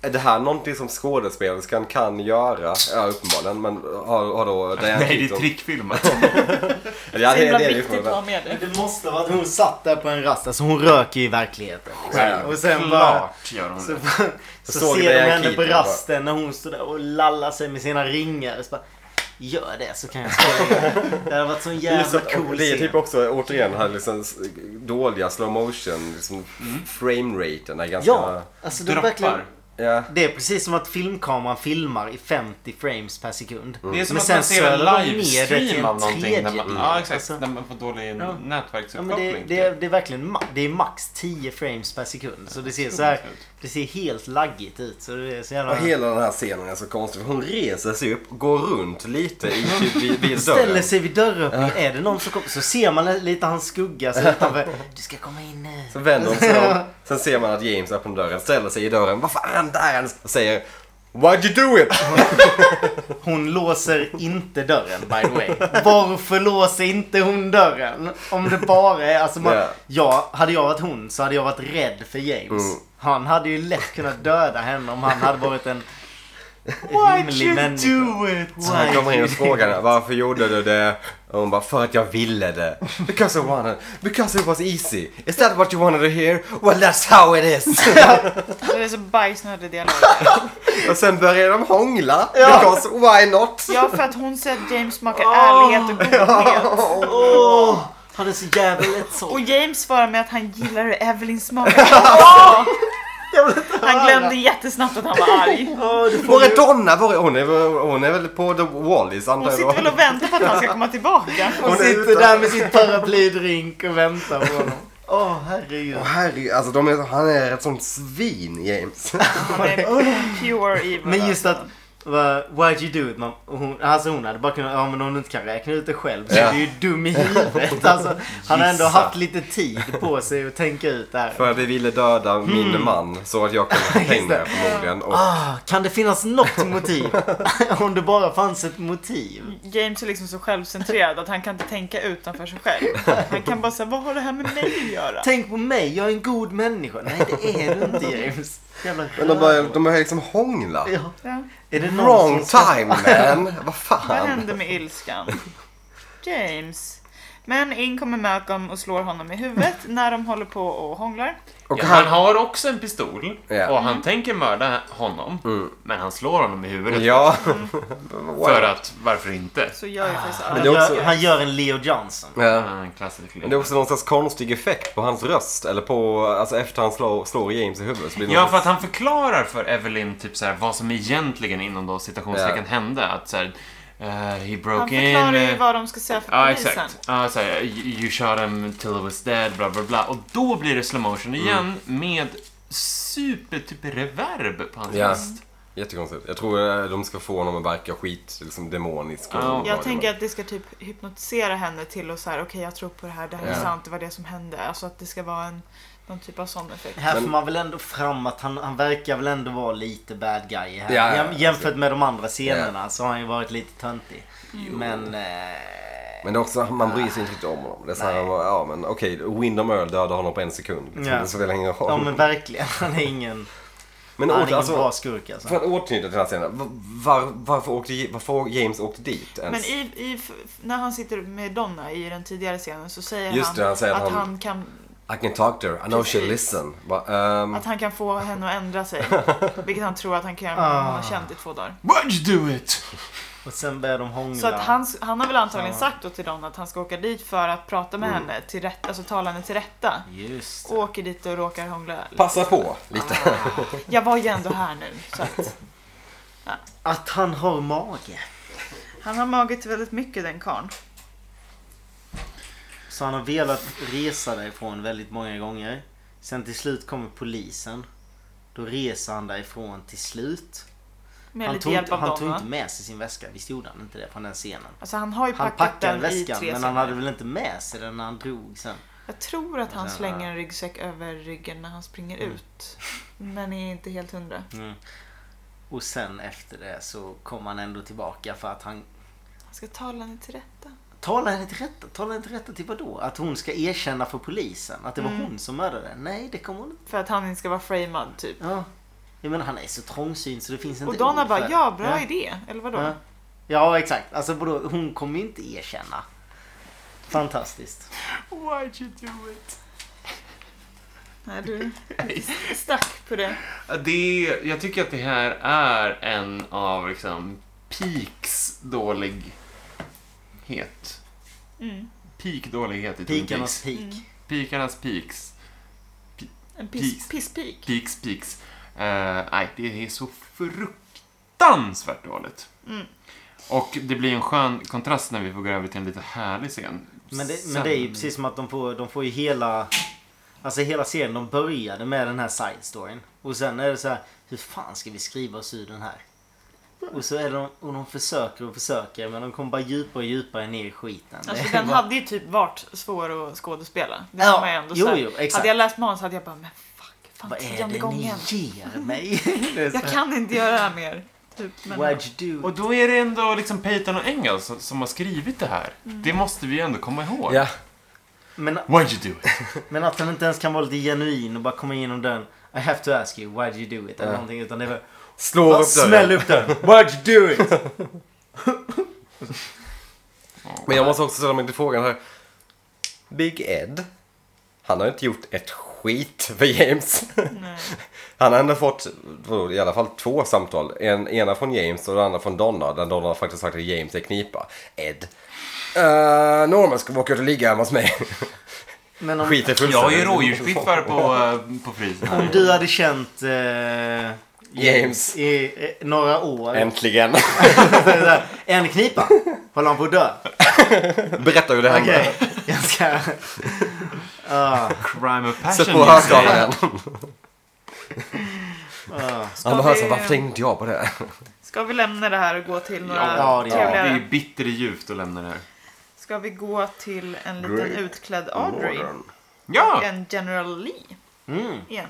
Är det här någonting som skådespelerskan kan göra? Ja, uppenbarligen. Men har, har då Diane Nej, det är Keaton- trickfilmat. Ja, det det, är det, himla det är viktigt att ha med det. Det måste vara att hon satt där på en rast. Alltså hon röker ju i verkligheten. liksom. Ja. Och sen bara... Klart gör hon Så, det. så, såg ser vi de en henne på keeper bara. rasten när hon står där och lallar sig med sina ringar. Och så bara, Gör det så kan jag spela in. Det hade varit sån Det är, jävla så, cool det är typ scen. också återigen den här liksom s- dåliga slow motion liksom Mm. frame raten är ganska... Ja, alltså det är verkligen... Droppar. ja. Det är precis som att filmkameran filmar i 50 frames per sekund. Mm. Det är som Men att sen man ser en sölar de ner det till en livestream av någonting. När man, tredjedel. ja, exakt. Alltså- När man får dålig Ja. Ja, men nätverksuppkoppling. typ. det, det, det är verkligen ma- det är max 10 frames per sekund. Så det ser så här, det ser helt laggigt ut. Så det är så jävla... Och hela den här scenen är så konstig för hon reser sig upp, går runt lite i typ vid, vid Ställer dörren. sig vid dörröppningen. Är det någon som kommer? Så ser man lite hans skugga så utanför. Du ska komma in nu. Så vänder hon sig om. Sen ser man att James öppnar dörren, ställer sig i dörren. Vad fan där är han? Och säger Why'd you do it? Hon låser inte dörren by the way. Varför låser inte hon dörren? Om det bara är... Alltså man, Ja. ja, hade jag varit hon så hade jag varit rädd för James. Mm. Han hade ju lätt kunnat döda henne om han hade varit en rimlig människa. it? Why Så han kommer in you och frågar henne, varför gjorde du det? Och hon bara, för att jag ville det. Because I wanted, because it was easy. Is that what you wanted to hear? Well that's how it is. Det är så bajsnödig dialog. och sen börjar de hångla. Because why not? Ja, för att hon säger att James smakar ärlighet och godhet. Åh, han är så jävla lätt Och så. James svarar med att han gillar hur Evelyn smakar. Åh! Han glömde jättesnabbt att han var arg. Åh, du får Var är ju... Donna? Var är, hon, är, väl- hon är väl på The Wallis antar Hon jag sitter väl och väntar på att han ska komma tillbaka. Hon Hon är sitter ute. där med sin paraplydrink och väntar på honom. Åh, herregud. Åh, herregud, alltså de är, han är ett sånt svin James. Han är pure evil. Men just alltså- att, va, why'd you do it? Man, och hon, alltså hon hade bara kunnat, ja men om du inte kan räkna ut det själv så Ja. är du ju dum i huvudet. Alltså, han har ändå Gissa. haft lite tid på sig att tänka ut det här. för att vi ville döda min man så att jag kunde få pengar förmodligen. Och Ah, kan det finnas något motiv? om det bara fanns ett motiv. James är liksom så självcentrerad att han kan inte tänka utanför sig själv. Han kan bara säga, vad har det här med mig att göra? Tänk på mig, jag är en god människa. Nej det är du inte James. Jävla men de börjar, de börjar liksom hångla. Ja. Ja, Är det någon Wrong som ska- time man! Vad vad fan? hände med ilskan? James. Men in kommer Malcolm och slår honom i huvudet när de håller på och hånglar. Och ja, han, han har också en pistol Ja. och Mm. han tänker mörda honom. Men han slår honom i huvudet. ja. För att, varför inte? Så gör ju faktiskt Han det är gör, också- han gör en Leo Johnson. Ja. Ah, en klassisk Men det är också någon slags konstig effekt på hans röst. Eller på, alltså efter han slår, slår James i huvudet så blir det Ja, någon för att han förklarar för Evelyn typ så här, vad som egentligen inom då citationstecken Ja. hände. Att så här, eh, he broke Han in. förklarar ju eh, vad de ska säga för Ja, polisen. exakt. Ja, så här, you you shot him till he was dead, bla bla bla. Och då blir det slow motion Mm. igen med super typ reverb på hans Ja. röst. Jättekonstigt. Jag tror eh, de ska få honom att verka skit, liksom demonisk. och Ja. obehaglig. Jag tänker att det ska typ hypnotisera henne till och så här, okej jag tror på det här, det här Ja. är sant, det var det som hände. Alltså att det ska vara en, någon typ av sån effekt. Här får Men- man väl ändå fram att han, han verkar väl ändå vara lite bad guy här. Ja, ja, Jäm, ja, jämfört med de andra scenerna så har han ju varit lite töntig. Mm. Men... Eh, Men det är också, man bryr sig inte riktigt om honom. Det är så här, ja men okej, Windham Earl dödade honom på en sekund. Liksom. Ja. Det spelar ingen roll. ja men verkligen. Han är ingen, men han är åter, ingen alltså, bra skurk alltså. för att återknyta till den här scenen. va- Var, varför, åkte, varför James åkte dit ens? Men i, i, f- när han sitter med Donna i den tidigare scenen så säger Just han, det, han säger att att han- han kan I can talk to her. I know she'll Precis. listen. But, um, Att han kan få henne att ändra sig. Vilket han tror att han kan göra, Ah. men hon har känt i två dagar. Why'd you do it? Och sen börjar de hångla. Så att han, han har väl antagligen Ja. sagt då till Don att han ska åka dit för att prata Mm. med henne, till rätt, alltså tala henne till rätta. Just Och åker dit och råkar hångla. passa på lite. Jag var ju ändå här nu. Så att, Att han har mage. han har magit väldigt mycket den karln. Så han har velat resa därifrån väldigt många gånger. Sen till slut kommer polisen. Då reser han därifrån till slut. Med han lite tog, hjälp inte, av han Don tog va? inte med sig sin väska. Visst gjorde han inte det från den scenen? Alltså han har ju Han packat packade den i väskan tre men han hade Alltså- sekunder. väl inte med sig den när han drog sen. Jag tror att han Sen, ja. slänger en ryggsäck över ryggen när han springer Mm. ut. Men är inte helt hundra. Och sen efter det så kom han ändå tillbaka för att han Han ska tala henne till rätta. Talar henne till rätta? Talar henne till rätta till vadå? Att hon ska erkänna för polisen att det var Mm. hon som mördade? Nej, det kommer hon inte. För att han inte ska vara framad typ. Ja. Jag menar, han är så trångsynt så det finns inte Och Donna ord för bara, det. ja bra idé. Eller vadå? Ja. ja, exakt. Alltså vadå? hon kommer ju inte erkänna. Fantastiskt. Why'd you do it? Nej, du stack på det. Det, är- jag tycker att det här är en av liksom peaks dålighet. Mm. Peak dålighet i Twin Pikarnas Peaks. peak. Mm. Pikarnas peaks. En Peace. piss, pisspik. Peaks, peaks. Eh, nej, det är så fruktansvärt dåligt. Mm. Och det blir en skön kontrast när vi får gå över till en lite härlig scen. Men, det, men Sen- det är ju precis som att de får, de får ju hela... Alltså hela serien, de började med den här side storyn. Och sen är det så här, hur fan ska vi skriva oss ur den här? Och så är de, och de försöker och försöker men de kommer bara djupare och djupare ner i skiten. Alltså Det är den bara- hade ju typ varit svår att skådespela. Det Ja, får man ju ändå jo, säga. jo, exakt. Hade jag läst manus hade jag bara, men fuck, fan Vad är tionde det ni gången. ger mig? Det är så Jag här, kan inte göra det här mer. Typ, men, Why'd you do? Och då är det ändå liksom Peyton och Engel som, som har skrivit det här. Mm. Det måste vi ju ändå komma ihåg. Ja. Men, Why'd you do it? men att han inte ens kan vara lite genuin och bara komma igenom den. I have to ask you, why'd you do it? Eller Ja. någonting. Utan det är bara, Slå upp smäll dörren. upp den. Why'd you do it? Men jag måste också ställa mig till frågan här. Big Ed. Han har inte gjort ett skit för James. nej. Han har ändå fått vadå, i alla fall två samtal. En, ena från James och den andra från Donna. Där Donna faktiskt sagt att James är knipa. Ed. Uh, Norman ska åka ut och ligga hemma hos mig. Men om, Skiter fullständigt. Jag har ju rådjursbiffar på, eh, på frysen. om du hade känt eh, James. i eh, några år. En, Äntligen. en knipa. Håller han på att dö? Berätta hur det hände. Okej, jag ska... Ah, Crime of passion. Sätt på you say. högtalaren. ah. Han bara hör så vi- här, alltså, varför tänkte inte jag på det? Ska vi lämna det här och gå till några Ja, det är- Det trevligare? är ju bitter djupt att lämna det här. Ska vi gå till en liten Great utklädd Audrey? Ja! En General Lee Mm. igen.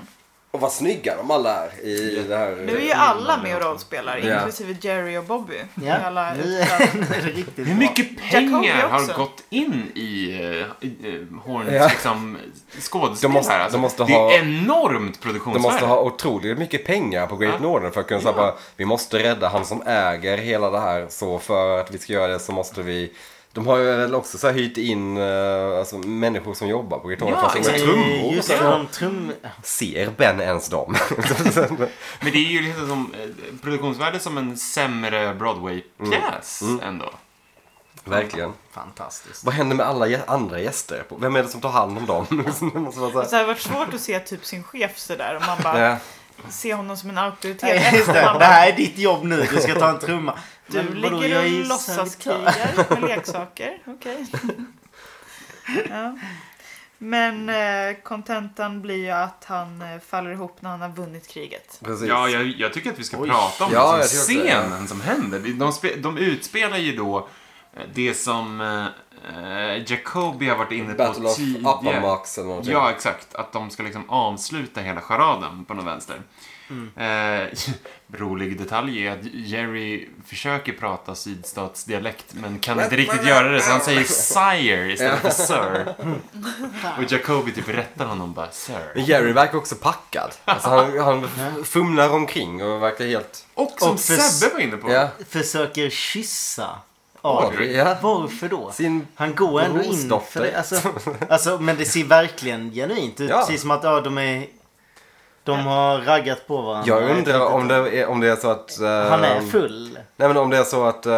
Och vad snygga de alla är i det här. Nu är ju alla med och rollspelar, Ja. inklusive Jerry och Bobby. Med Ja, alla nu utklädda. är, nu är det riktigt Hur bra. mycket pengar Jacobi har också. gått in i, eh, i eh, Horns Ja. liksom, skådespel De måste- här? Alltså, de måste det ha- är enormt De produktionsvärde. måste ha otroligt mycket pengar på Great Ja. Northern för att kunna säga bara, vi måste rädda han som äger hela det här. Så för att vi ska göra det så måste vi de har ju väl också så här hyrt in eh, alltså, människor som jobbar på Great Northern Ja, för att exakt. sjunga trummor. Just Ja. det, de trum... Ser Ben ens dem? Men det är ju lite som eh, produktionsvärde som en sämre Broadway-pjäs Mm. ändå. Verkligen. Fantastiskt. Vad händer med alla gä- andra gäster? på- Vem är det som tar hand om dem? Det måste vara så här- Så det har varit svårt att se typ sin chef sådär och man bara Ja. ser honom som en auktoritet. Nej, Just det, Man det bara, här är ditt jobb nu. Du ska ta en trumma. du Men vadå, ligger jag är och ju servitör. låtsaskrigar med leksaker. Okej. Ja. Men eh, kontentan blir ju att han eh, faller ihop när han har vunnit kriget. Precis. Ja, jag, jag tycker att vi ska Oj. prata om Ja, liksom jag tycker också det, ja. scenen som händer. De, spe, de utspelar ju då eh, det som eh, Jacobi har varit inne Battle på of tidigare. Appomattox eller någonting. Ja, exakt. Att de ska liksom avsluta hela charaden på något vänster. Mm. Eh, rolig detalj är att Jerry försöker prata sydstatsdialekt men kan inte riktigt göra det så han säger sire istället för sir. Och Jacobi typ rättar honom bara sir. Men Jerry verkar också packad. Alltså han, han fumlar omkring och verkar helt... Och som Och för- Sebbe var inne på. Ja. Försöker kyssa Audrey. Audrey, ja. Varför då? Sin Han går ändå in för Brorsdotter. det. Alltså, alltså, men det ser verkligen genuint ut. Ja. Precis som att ja, de är... De har raggat på varandra. Jag vet undrar inte. om det, är, om det är så att... eh, Han är full. Nej men om det är så att, eh,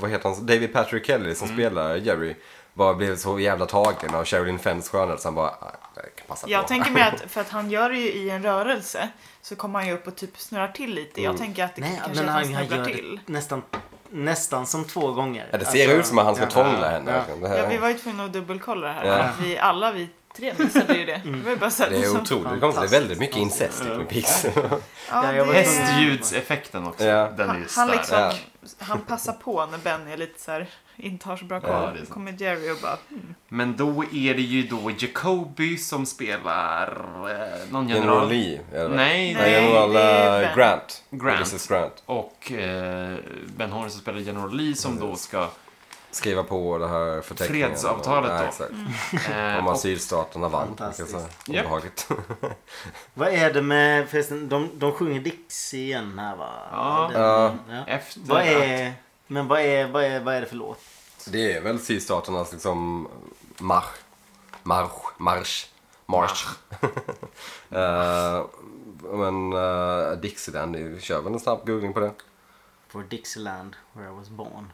vad heter han, David Patrick Kelly Mm. som spelar Jerry bara blev så jävla tagen av Sherilyn Fenns skönhet så han bara, "Ah, jag kan passa på. Jag tänker mig att, för att han gör det ju i en rörelse, så kommer han ju upp och typ snurrar till lite. Jag tänker att det Mm. Nej, kanske men är att han, han han snubblar gör till. det nästan, nästan som två gånger. Ja, det ser Alltså, ut som att han ska ja. tvångla henne. Ja. verkligen. Det, här, Ja, vi var ju tvungna att dubbelkolla det här. Ja. för att Vi, alla vi tre missade ju det. Mm. Det var ju bara så här, det är liksom, otroligt konstigt. Det är väldigt mycket incest i Twin Peaks. Ja, Ja, jag var- det är- Hästljudeffekten också. Ja. Den är han, ju stark. han, liksom, Ja. han passar på när Benny är lite så här, inte har så bra koll. Ja, det är sant. kommer Jerry och bara, Men då är det ju då Jacoby som spelar eh, någon General general. Lee, eller? Nej, Nej, General det är eh, Ben. Grant. Grant. Ulysses Grant. Och eh, Ben Horn som spelar general Lee som då ska... Skriva på det här förteckningen. Fredsavtalet Ja, då. exakt. Eh, Om och, asylstaterna vann. Fantastiskt. Så här, Ja. Obehagligt. Vad är det med förresten, de, de sjunger Dixie igen här va? Ja. Den- Ja. ja. efter Vad att... är, men vad är, vad, är, vad är det för låt? Det är väl sydstaternas liksom marsch. Marsch. Marsch. Marsch. Eh, men uh, Dixieland, vi kör väl en snabb googling på det. For Dixieland, where I was born.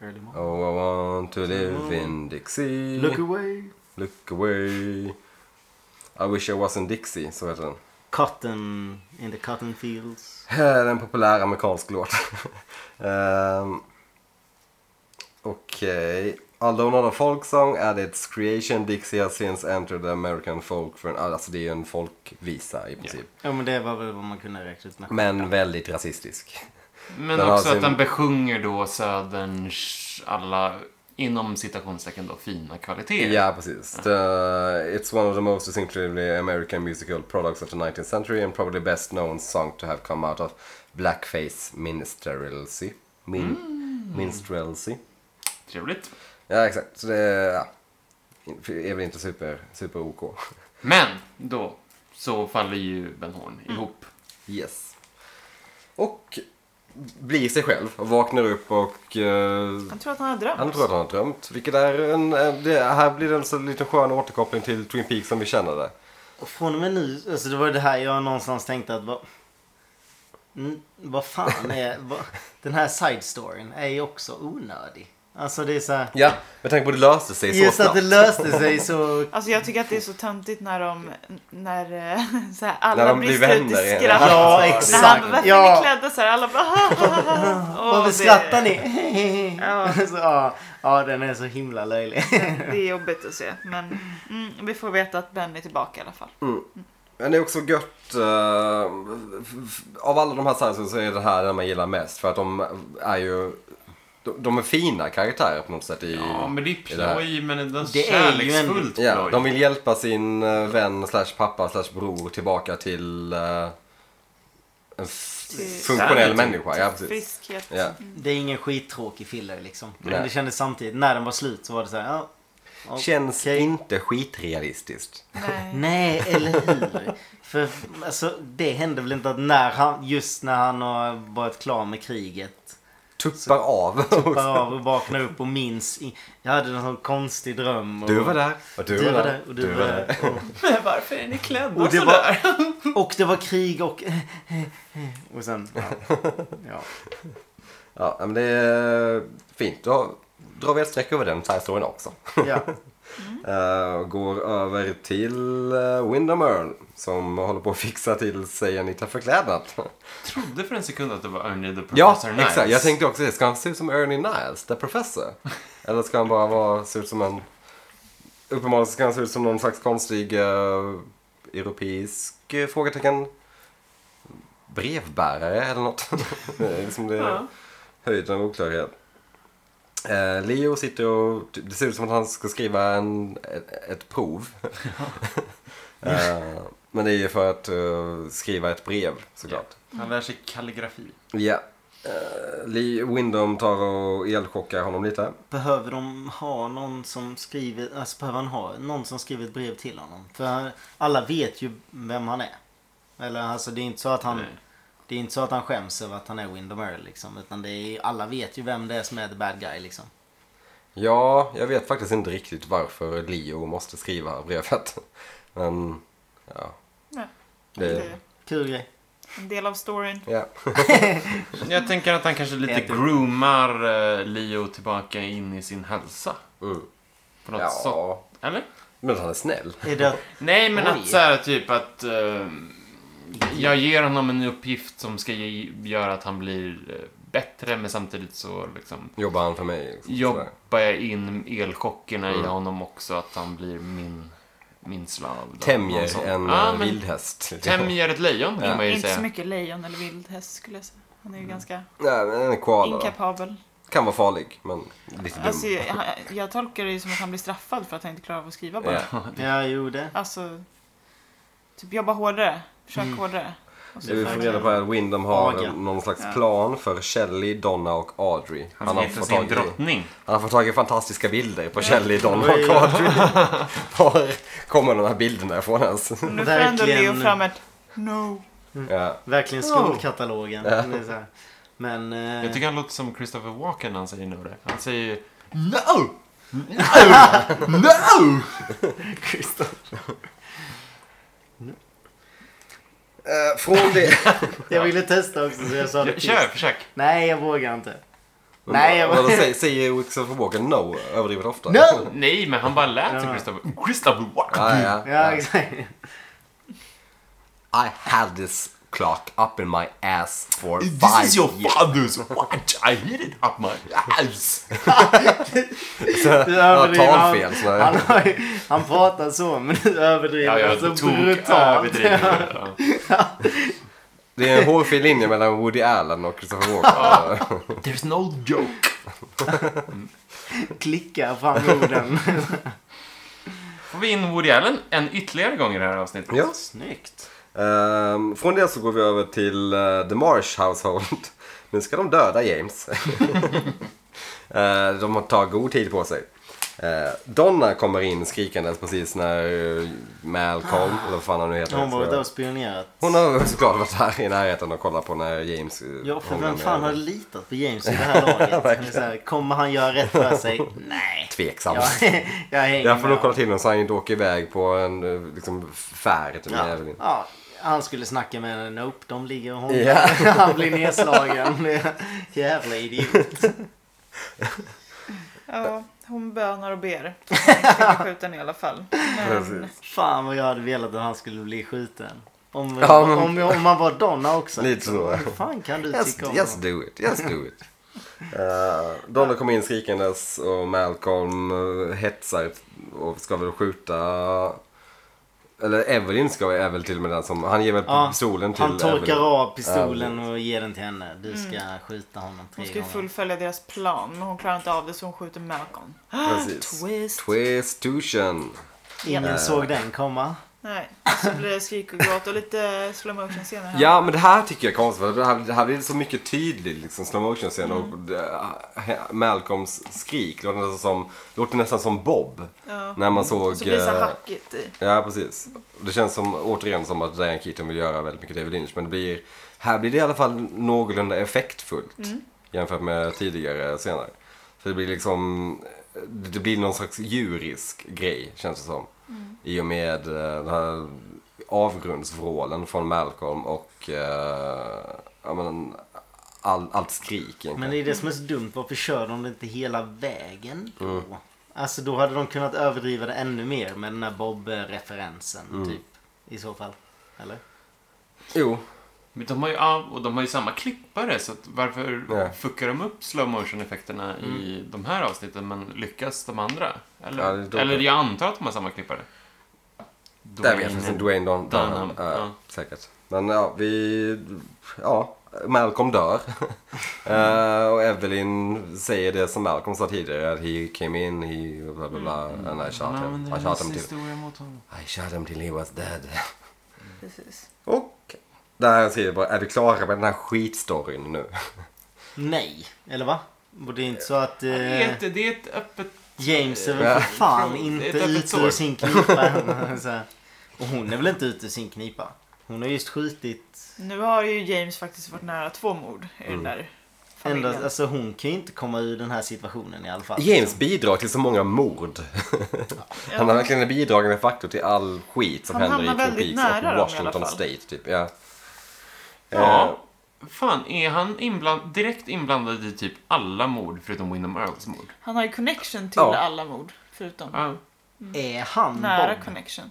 Early morning. Oh, I want to live in Dixie. Look away. Look away. I wish I was in Dixie, så heter den. Cotton in the cotton fields. Här är en populär amerikansk låt. Ehm, Okej. Although not a folk song at its creation, Dixie has since entered the American folk. För en, alltså det är ju en folkvisa i princip. Ja men det var väl vad man kunde räkna ut. med. Men väldigt rasistisk. Men Den har också sin- att den besjunger då Söderns alla, inom citationstecken då, fina kvaliteter. Ja, precis. The, it's one of the most distinctively American musical products of the 19th century and probably best known song to have come out of blackface minstrelsy. Min, Minstrelsy. Trevligt. Ja, exakt. Så det ja, är väl inte super, super OK. Men då så faller ju Ben Horn ihop. Yes. Och blir sig själv och vaknar upp och eh, han tror att han har drömt. han tror att han har drömt. Vilket är en, eh, det, här blir det en så liten skön återkoppling till Twin Peaks som vi känner det. Och från och med nu, alltså det var det här jag någonstans tänkte att vad... Mm, Vad fan är... Vad, den här side storyn är ju också onödig. Alltså det är så här... Ja, med tanke på att det löste sig så Just att snabbt. det löste sig så Alltså jag tycker att det är så töntigt när de, när eh, så här, alla När de blir brister ut i vänner igen. skratt. Ja, När han exakt. bara, varför är ni Ja. klädda så här? Alla bara, oh, Varför skrattar ni? Ja. så, ja, ja, den är så himla löjlig. Det är jobbigt att se, men mm, vi får veta att Ben är tillbaka i alla fall. Men det är också gött. eh, f- f- av alla de här serierna så är det här den man gillar mest. För att de är ju... De, de är fina karaktärer på något sätt. I, Ja, men det är i det här. ploj, men det är Det är ju en- kärleksfullt ploj. Ja, de vill hjälpa sin eh, vän slash pappa slash bror tillbaka till eh, en f- Till- funktionell Till- människa. Ja, precis. Friskhet. Ja. Det är ingen skittråkig filler liksom. Men Nej. det kändes samtidigt, när den var slut så var det så här, ja. ja, Känns okej. inte skitrealistiskt. Nej. Nej, eller hur? För alltså, det hände väl inte att när han, just när han har varit klar med kriget Tuppar av. bara av och vaknar upp och minns. i- Jag hade någon sån konstig dröm. Och, Du var där och du, var där. och du var där. Och, Men varför är ni Oh, klädda och, det sådär? var, och det var krig och... Och sen... Ja. ja. Ja, men det är fint. Då drar vi ett streck över den side-storyn också. ja. Eh, och går över till uh, Windham Earl som håller på att fixa till sig en liten förklädnad. trodde för en sekund att det var Ernie the Professor ja, Niles. exakt. Jag tänkte också det. Ska han se ut som Ernie Niles, the professor? Eller ska han bara vara, se ut som en... Uppenbarligen ska han se ut som någon slags konstig eh, europeisk eh, frågetecken. Brevbärare eller något. Det är liksom det Ja. höjden av oklarhet. Eh, Leo sitter och... typ- Det ser ut som att han ska skriva en, ett, ett prov. eh, men det är ju för att eh, skriva ett brev såklart. Han lär sig kalligrafi. Ja. Eh, Lee Windom tar och elchockar honom lite. Behöver de ha någon som skriver, alltså behöver han ha någon som skriver ett brev till honom? För alla vet ju vem han är. Eller alltså det är inte så att han, Nej. Det är inte så att han skäms över att han är Windom Earl liksom. Utan det är, alla vet ju vem det är som är the bad guy liksom. Ja, jag vet faktiskt inte riktigt varför Leo måste skriva brevet. Men, ja. Nej, Det- det är Kul grej. en del av storyn. ja. Jag tänker att han kanske lite Äter. groomar eh, Leo tillbaka in i sin hälsa. Mm. På något sätt. ja. Eller? Men han är snäll. Är det, Nej, men Oj. att så här, typ att... eh, jag ger honom en uppgift som ska ge, göra att han blir eh, bättre, men samtidigt så liksom... Jobbar han för mig? Liksom, sådär. Jobbar jag in elchockerna i Mm. honom också, att han blir min, min slav. då. Någon sån- Tämjer en Ja, eh, men vildhäst. Tämjer ett lejon, kan Ja. man ju Inte så säga. mycket lejon eller vildhäst skulle jag säga. Han Mm. är ju ganska Nej, men en är koala. då. inkapabel. Kan vara farlig, men lite dum. Alltså, jag, jag tolkar det ju som att han blir straffad för att han inte klarar av att skriva bara. Ja. ja, jo det. Alltså, typ jobba hårdare. Försök Mm. hårdare. Och så Det vi får försöker- reda på är att Windom har Aga. någon slags Ja. plan för Shelley, Donna och Audrey. Han, han har heter fått sin tag i- drottning. han har fått tag i fantastiska bilder på Ja. Shelley, Donna och Oj. Audrey. Var kommer de här bilderna ifrån ens? Nu får ändå Leo Verkligen. fram ett no. Ja. Verkligen skolkatalogen. Ja. Det är så här. Men... eh, Jag tycker han låter som Christopher Walken när han säger nu det. Han säger ju No! No! Eh, från det... jag ville testa också så jag sa det sist. Kör, försök. Nej, jag vågar inte. Nej, jag- Vadå, säger, säger Christopher Walken no överdrivet ofta? No! Nej, men han bara lät som Ja. Christopher, Christopher Walken. Ja, ja, Ja, ja. exakt. I had this clock up in my ass for This is your five years. father's watch. I hid it up my ass. Du Ja, överdriver. talfel. så Han, där. har ju- han pratar så, men du överdriver Ja, jag så tog brutalt. överdrivet. Ja. Det är en hårfin linje mellan Woody Allen och Christopher Walken. There's no joke. Klickar fram orden. Får vi in Woody Allen en ytterligare gång i det här avsnittet? Ja. Snyggt. Ehm, från det så går vi över till eh, The Marsh Household. nu ska de döda James. Eh, de tar god tid på sig. Eh, Donna kommer in skrikandes precis när eh, Malcolm, eller vad fan han nu heter. Hon var där så- och spionerat. hon har såklart varit här i närheten och kollat på när James... eh, Ja, för hånglar vem med- fan har litat på James i det här laget? Det är Verkligen. så här, kommer han göra rätt för sig? Nej. Tveksam. Jag, jag hänger Jag får nog med kolla till honom så han inte åker iväg på en eh, liksom, färd. Typ, Ja. med- ja, han skulle snacka med henne. Nope, de ligger och hånglar. Ja. Han blir nedslagen. Jävla idiot. Ja, hon bönar och ber. Försöker skjuta den i alla fall. Mm. Men, Precis. Fan vad jag hade velat att han skulle bli skjuten. Om, Ja, men- om, om man var Donna också. Lite så. Vad fan kan du Yes, tycka om yes honom? do it, yes do it. Eh, Donna kommer in skrikandes och Malcolm eh, hetsar och ska väl skjuta... Eller Evelyn ska väl är väl till och med den som... Han ger väl Ja, pistolen till Han torkar Evelyn. av pistolen och ger den till henne. Du Mm. ska skjuta honom tre hon ska ju gånger. fullfölja deras plan men hon klarar inte av det så hon skjuter Malcolm. Precis. Twist. Twistution. Ingen Eh. Ja. såg den komma. Nej, så blir det skrik och gråt och lite slow motion scener här. Ja, men det här tycker jag är konstigt. för Det här, det här blir så mycket tydlig liksom, slow motion scen och Mm. det- Malcolms skrik. Det låter nästan som, det låter nästan som Bob. Ja. När man såg... Så blir det så här eh, hackigt i. Ja, precis. Det känns som, återigen som att Diane Keaton vill göra väldigt mycket David Lynch. Men det blir, här blir det i alla fall någorlunda effektfullt jämfört med tidigare scener. Så det blir liksom, det blir någon slags djurisk grej känns det som. I och med eh, den här avgrundsvrålen från Malcolm och eh, ja, men, all, allt skrik egentligen. Men det är det som är så dumt. Varför kör de det inte hela vägen då? Mm. Alltså då hade de kunnat överdriva det ännu mer med den här Bob-referensen. Mm. Typ. I så fall. Eller? Jo, Men de har ju, ja, och de har ju samma klippare, så att varför Ja. fuckar de upp slow motion effekterna i de här avsnitten, men lyckas de andra? Eller, Ja, det är då- eller jag antar att de har samma klippare. Där vet jag inte. Dwayne Don Dunham. Dunham, Ja, ja. Säkert. Men ja, vi... Ja, Malcolm dör. Eh, och Evelyn säger det som Malcolm sa tidigare. Att he came in, he... Bla, bla, bla, Mm. and I shot Han him. använder I shot hennes him till... historia mot honom. I shot him till he was dead. Precis. och... Där jag skriver bara, är vi klara med den här skitstoryn nu? Nej. Eller va? Och det är inte så att eh, Ja, Det är, ett, det är ett öppet... James är Ja. väl för fan Det är inte ett öppet ute sår. ur sin knipa. än, så här. Och hon är väl inte ute ur sin knipa? Hon har just skjutit... Nu har ju James faktiskt varit nära två mord i Mm. den där familjen. Ända, alltså hon kan ju inte komma ur den här situationen i alla fall. James bidrar till så många mord. Han har verkligen en bidragande faktor till all skit som Han händer hamnar i Twin väldigt Peaks nära dem och i alla Washington fall. State. Typ. Ja. Eh, Ja. Fan, är han inbland, direkt inblandad i typ alla mord förutom Wyndham Earls mord? Han har ju connection till Ja. alla mord. Förutom Ja. Är han nära Bob? connection.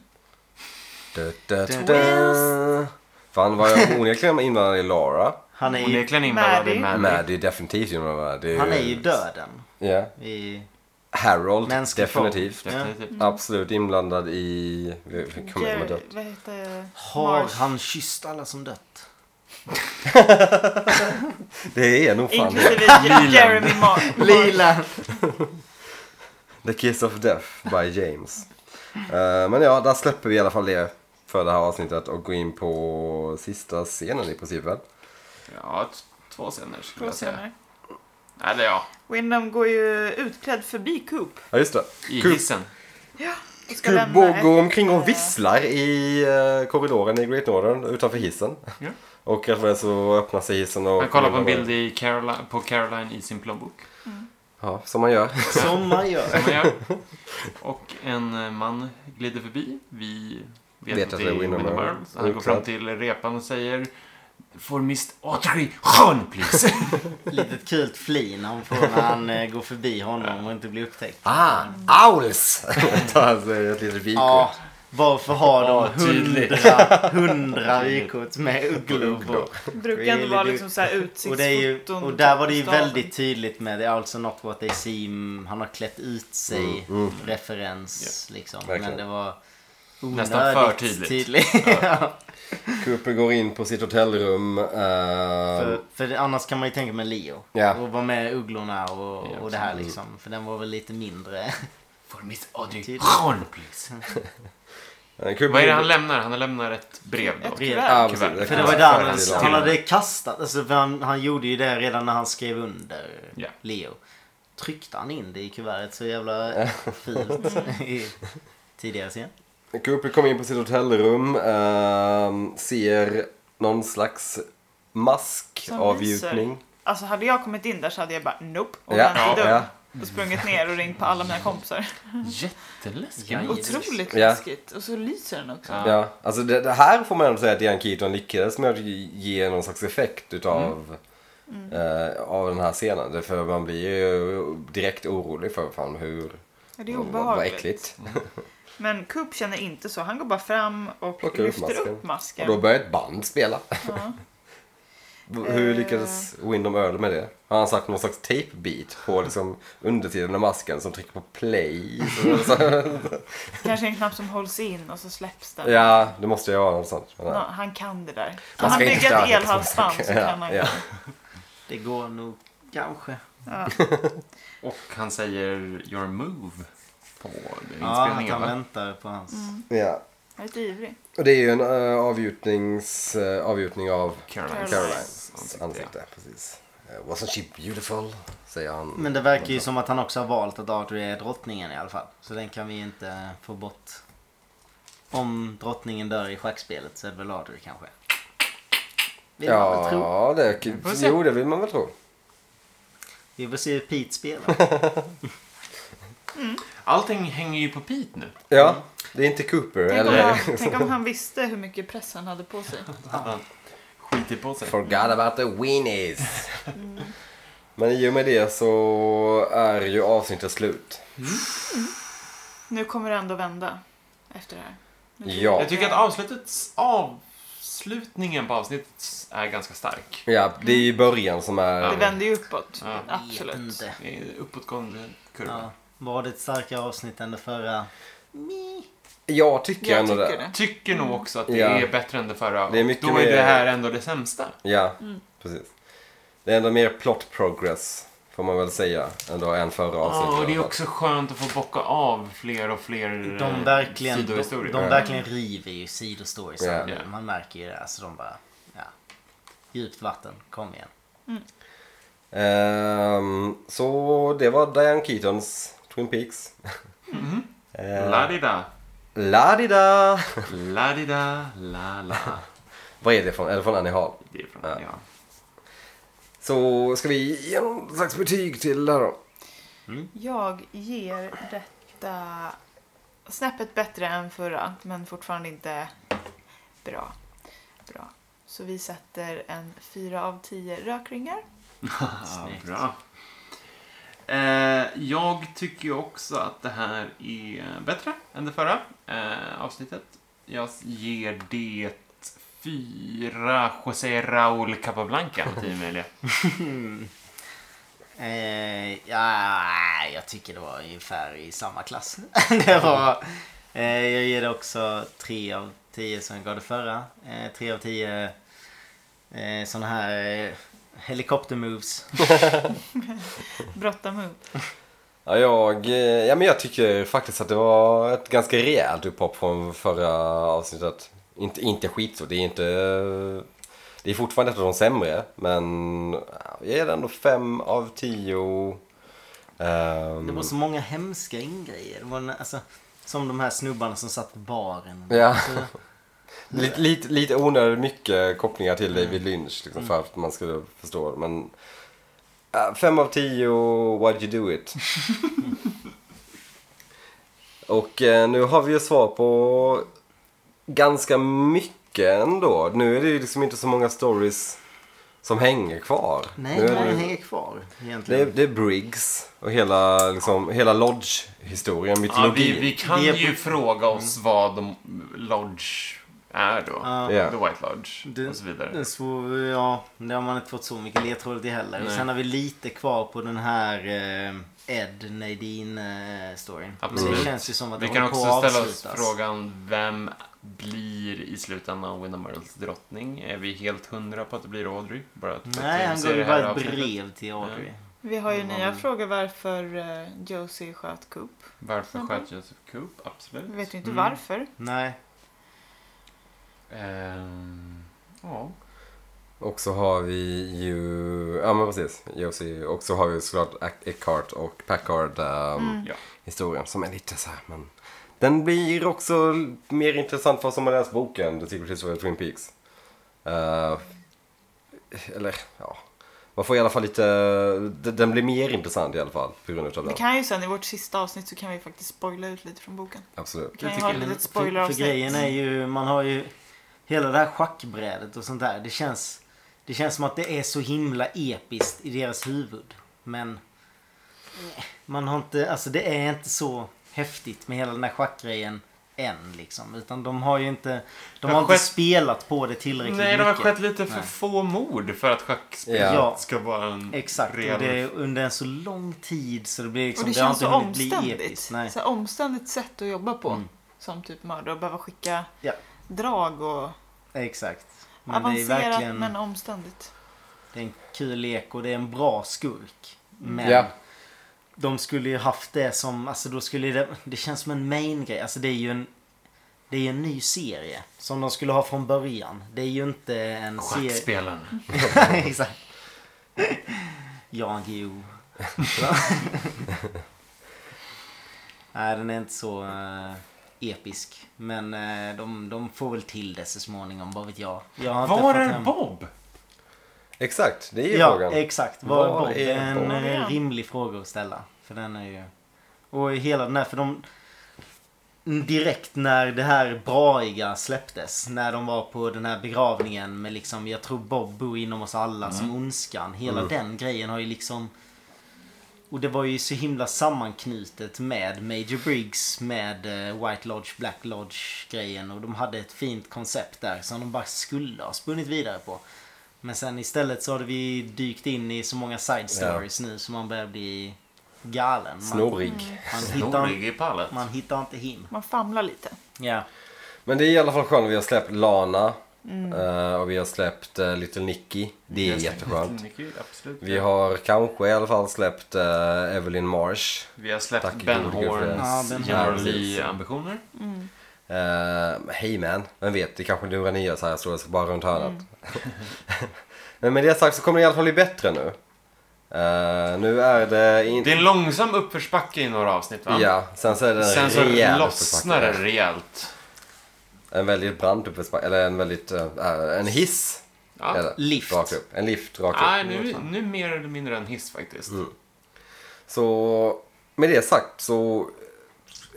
Da, da, da, da. Fan vad jag onekligen inblandad i Laura. Han är ju, Onekligen inblandad i Maddie. Maddie. Nej, det är definitivt inblandad. Det han är ju döden. Ja. I, Harold, Mänsklig Mm. form. definitivt. Ja. Definitivt. Absolut inblandad i... vi- vi kommer ihåg vad Jerry, det- vad heter har Marsh. han kysst alla som dött? Det är nog fan det. Inklusive Jeremy Marsh. Lila! The Kiss of Death by James. Eh, men ja, där släpper vi i alla fall det för det här avsnittet och går in på sista scenen i princip väl? Ja, t- två scener skulle Två jag säga. scener. Eller ja, Wyndham går ju utklädd förbi Coop. Ja, just det. i Coop- hissen. Och ska lämna Kubo går ett- Typ omkring eh, och visslar i eh, korridoren i Great Northern utanför hissen. Ja. Och rätt vad det är så öppnar sig hissen och... Han kollar på en bild i Caroline, på Caroline i sin plånbok. Ja, som man gör. Som man som gör. man gör. Och en eh, man glider förbi. Vi vet, att det är Wyndham Wyndham Earl. Earls. Han går Utklädd. fram till repan och säger For Mr. Autry Sean, please. Litet kul flin han får när han eh, går förbi honom och inte blir upptäckt. Ah, owls! Tar han sig ett litet vykort. Ja, varför har Ja, de tydligt. hundra, hundra vykort med ugglor på? Brukar ändå vara liksom så här Och, det är ju, utsiktsfoton. och där var det ju på staden. väldigt tydligt med det är alltså not what they seem. Han har klätt ut sig. Referens liksom. Mm, verkligen. Men det var Nästan onödigt för tydligt. tydligt. Ja. Cooper går in på sitt hotellrum. eh, för, för annars kan man ju tänka med Leo. Ja. Och vara med Ugglorna och, Ja, och det här liksom. För den var väl lite mindre. For Mr. Autry Tydligt. Sean, please. eh, Cooper Vad är det han lämnar? Han lämnar ett brev då. Ett brev. kuvert. Ja, precis. Kuvert. Det För kan det vara var där för han, att- Ja. han hade kastat. Alltså, för han, han gjorde ju det redan när han skrev under Ja. Leo. Tryckte han in det i kuvertet så jävla fult i tidigare scen. Cooper kommer in på sitt hotellrum. eh, ser någon slags maskavgjutning. Alltså hade jag kommit in där så hade jag bara nope och Ja, vänt mig ja. dum. Och sprungit ner och ringt på alla mina kompisar. Jätteläskigt. Ja, Otroligt Ja. läskigt. Och så lyser den också. Ja. Ja, alltså det, det här får man ändå säga att Ian Keaton lyckades med att ge någon slags effekt utav Mm. eh, av den här scenen. Det är För man blir ju direkt orolig för fan hur... Ja, det är vad- Vad obehagligt. äckligt. Men Coop känner inte så. Han går bara fram och Plockar upp lyfter masken. upp masken. Och då börjar ett band spela. Eh. Hur lyckades Windom Earl med det? Har han sagt någon slags tape-beat på liksom undersidan av masken som trycker på play? Kanske en knapp som hålls in och så släpps den. ja, det måste ju vara något sånt. Men, Nå, ja. han kan det där. Man Om han ska inte bygger ett störa elhalsband så kan han ja. Det går nog kanske. Och han säger your move på Ja, att inspelningen han va? väntar på hans. ja. Jag är lite ivrig. Och det är ju en uh, avgjutnings, eh, avgjutning av Caroline. Carolines ansikte. Precis. Eh, wasn't she beautiful? Säger han. Men det verkar ju som att han också har valt att Audrey är drottningen i alla fall. Så den kan vi inte få bort. Om drottningen dör i schackspelet så är det väl Audrey kanske. Vill man väl tro. Ja, det, får se. jo, det vill man väl tro. Vi får se hur Pete spelar. Allting hänger ju på Pete nu. Ja, Mm. det är inte Cooper Tänk om, eller han, tänk om han visste hur mycket press han hade på sig. Skiter på sig. Forgot about the weenies. Men i och med det så är ju avsnittet slut. Nu kommer det ändå vända efter det här. Nu tycker Ja. Jag tycker att avslutets, avslutningen på avsnittet är ganska stark. Ja, det är ju början som jag- Det är... vänder ju uppåt. Ja. Vet Absolut. inte. Det är Uppåtgående kurva. Ja. Var det ett starkare avsnitt än det förra? Jag tycker Jag ändå tycker det. det. Tycker nog också att det Ja. är bättre än det förra. Det är mycket och då är mer- det här ändå det sämsta. Ja, precis. Det är ändå mer plot progress, får man väl säga, ändå än förra avsnittet. Ja, och det i är alla fall. också skönt att få bocka av fler och fler eh, De verkligen, de, sidohistorier. de verkligen river ju sidostories. Ja. Yeah. Man märker ju det. Alltså de bara... Ja. Djupt vatten. Kom igen. Ehm, så det var Diane Keatons Twin Peaks. La-di-da, La-di-da! la-di-da, la-la. Vad är det från? Är det från Annie Hall? Det är från Ja. ja. Så ska vi ge någon slags betyg till det här då? Jag ger detta snäppet bättre än förra, men fortfarande inte bra. bra. Så vi sätter en 4 av 10 rökringar. Ja, Snyggt. bra. Eh, jag tycker ju också att det här är bättre än det förra eh, avsnittet. Jag ger det fyra José Raúl Capablanca till Emilia. Eh, ja, jag tycker det var ungefär i samma klass. det var, eh, jag ger det också 3 av 10 som jag gav det förra. Eh, 3 av 10 eh, sådana här eh, helikoptermoves. Brotta upp. Ja, jag, eh, ja, men jag tycker faktiskt att det var ett ganska rejält upphopp från förra avsnittet. Inte, inte skitstort, det är inte... Det är fortfarande ett av de sämre, men ja, jag ger det ändå fem av tio. Ehm, Det var så många hemska ingrejer. Det var, en- alltså, som de här snubbarna som satt på baren. Ja. Alltså, Lite, lite, lite onödigt mycket kopplingar till Mm. David Lynch liksom, för att man skulle förstå det. Men äh, fem av tio, why'd you do it? Och eh, nu har vi ju svar på ganska mycket ändå. Nu är det ju liksom inte så många stories som hänger kvar. nej, nu det är det, hänger kvar egentligen. det, är, det är Briggs och hela, liksom, hela Lodge-historien, Ja, mytologin. vi, vi kan Det är ju på- Mm. fråga oss vad de Lodge är då. Ja. Ja. The White Lodge Det- och så vidare. Den svår, ja, det har man inte fått så mycket ledtrådar till heller. Och Nej. sen har vi lite kvar på den här eh, Ed Nadine-storyn. Absolut. Det känns ju som att Vi det kan håller på också att ställa oss avslutas. frågan vem blir i slutändan Winnamarles drottning? Är vi helt hundra på att det blir Audrey? Bara att Nej, han ser går ju det här bara ett avsnittet. brev till Audrey. Vi har ju Mm. nya frågor varför eh, Josie sköt Coop. Varför Snabbare. sköt Joseph Coop? Absolut. Vi vet ju inte Mm. varför. Nej. Ehm, ja. Och så har vi ju, ja men precis, Josie. Och så har vi såklart Ac- Eckhart och Packard ehm, Mm. Ja. historien som är lite så här, men den blir också mer intressant för oss som har läst boken The Secret History of Twin Peaks. Eh, eller ja, man får i alla fall lite, d- den blir mer intressant i alla fall på grund av Vi det. kan ju sen i vårt sista avsnitt så kan vi faktiskt spoila ut lite från boken. Absolut. Vi kan Det ju ha tycker ett jag. litet För, för spoileravsnitt. grejen är ju, man har ju hela det här schackbrädet och sånt där. Det känns, det känns som att det är så himla episkt i deras huvud. Men eh, man har inte, alltså det är inte så häftigt med hela den här schackgrejen än liksom. Utan de har ju inte, de har har inte skett- spelat på det tillräckligt Nej, de mycket. har skett lite för Nej. få mord för att schackspelet Ja. ska vara en Exakt, reell... och det är under en så lång tid så det blir liksom, Och det har känns inte så hunnit bli omständigt. episkt. Nej. Så här omständigt sätt att jobba på. Mm. Som typ mördare och behöva skicka Ja. drag och Exakt. Men det är avancerat verkligen, men omständigt. det är en kul lek och det är en bra skurk. Men Ja. de skulle ju haft det som, alltså då skulle det, det känns som en main grej. Alltså det är ju en, det är ju en ny serie. Som de skulle ha från början. Det är ju inte en serie. Schackspelaren. Exakt. Jan Guillou. Nej, den är inte så eh, episk. Men eh, de, de får väl till det så småningom, vad vet jag. jag har inte Var fått är hem- Bob? Exakt, det är ju Ja, frågan. exakt. Var, Var var är är en Bob? eh, Var är han? rimlig fråga att ställa. För den är ju... Och hela den här, för de... Direkt när det här braiga släpptes. När de var på den här begravningen med liksom, jag tror Bob bor inom oss alla Mm. som ondskan. Hela den grejen har ju liksom... Och det var ju så himla sammanknutet med Major Briggs, med eh, White Lodge, Black Lodge grejen. Och de hade ett fint koncept där som de bara skulle ha spunnit vidare på. Men sen istället så har vi dykt in i så många side stories nu så man börjar bli galen. Man, Snorrig. man, hittar, Snorig i pallet. man hittar inte him. Man famlar lite. Ja. Men det är i alla fall skönt. Vi har släppt Lana Mm. eh, och vi har släppt eh, Little Nicky. Det är jätteskönt. Mycket, absolut. Vi har kanske i alla fall släppt eh, Evelyn Marsh. Vi har släppt Tack, Ben gode gud för det. Ja, Horns Ben General Horns. Lee-ambitioner. Eh, Hey man, vem vet, det kanske lurar nya så här stora så bara runt hörnet. Mm. Men med det sagt så kommer det i alla fall bli bättre nu. Eh, nu är det Det inte... är en långsam uppförsbacke i några avsnitt, va? Ja, sen så är det en Sen så rejäl lossnar det uppförsbacke. rejält. En väldigt brant uppförsbacke, eller en väldigt, eh, en hiss. Ja. är det. Lift. Rakt upp. En lift rakt Nej, upp. nu, nu mer eller mindre en hiss faktiskt. Mm. Så med det sagt så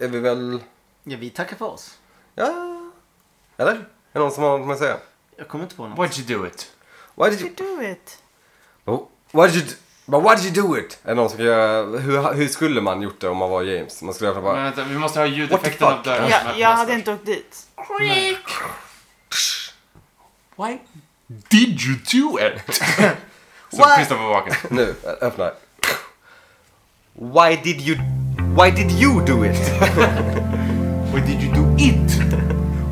är vi väl, Ja, vi tackar för oss. ja, eller? Är det någon som har något att säga? Jag kommer inte på något. Why'd you do it? Why did You you, do it. oh, why did you, do- but why did you do it? Är det någon som kan göra, hur, hur skulle man gjort det om man var James? Man skulle i alla fall Men bara, vänta, vi måste ha What the ljudeffekten fuck? av dörren som Jag, jag öppnas hade först. inte åkt dit. Why did you do it? Som Why- Christopher Walken. nu, öppna. Why did you, why did you do it? Why did you do it?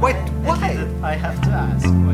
Why, why? I have to ask.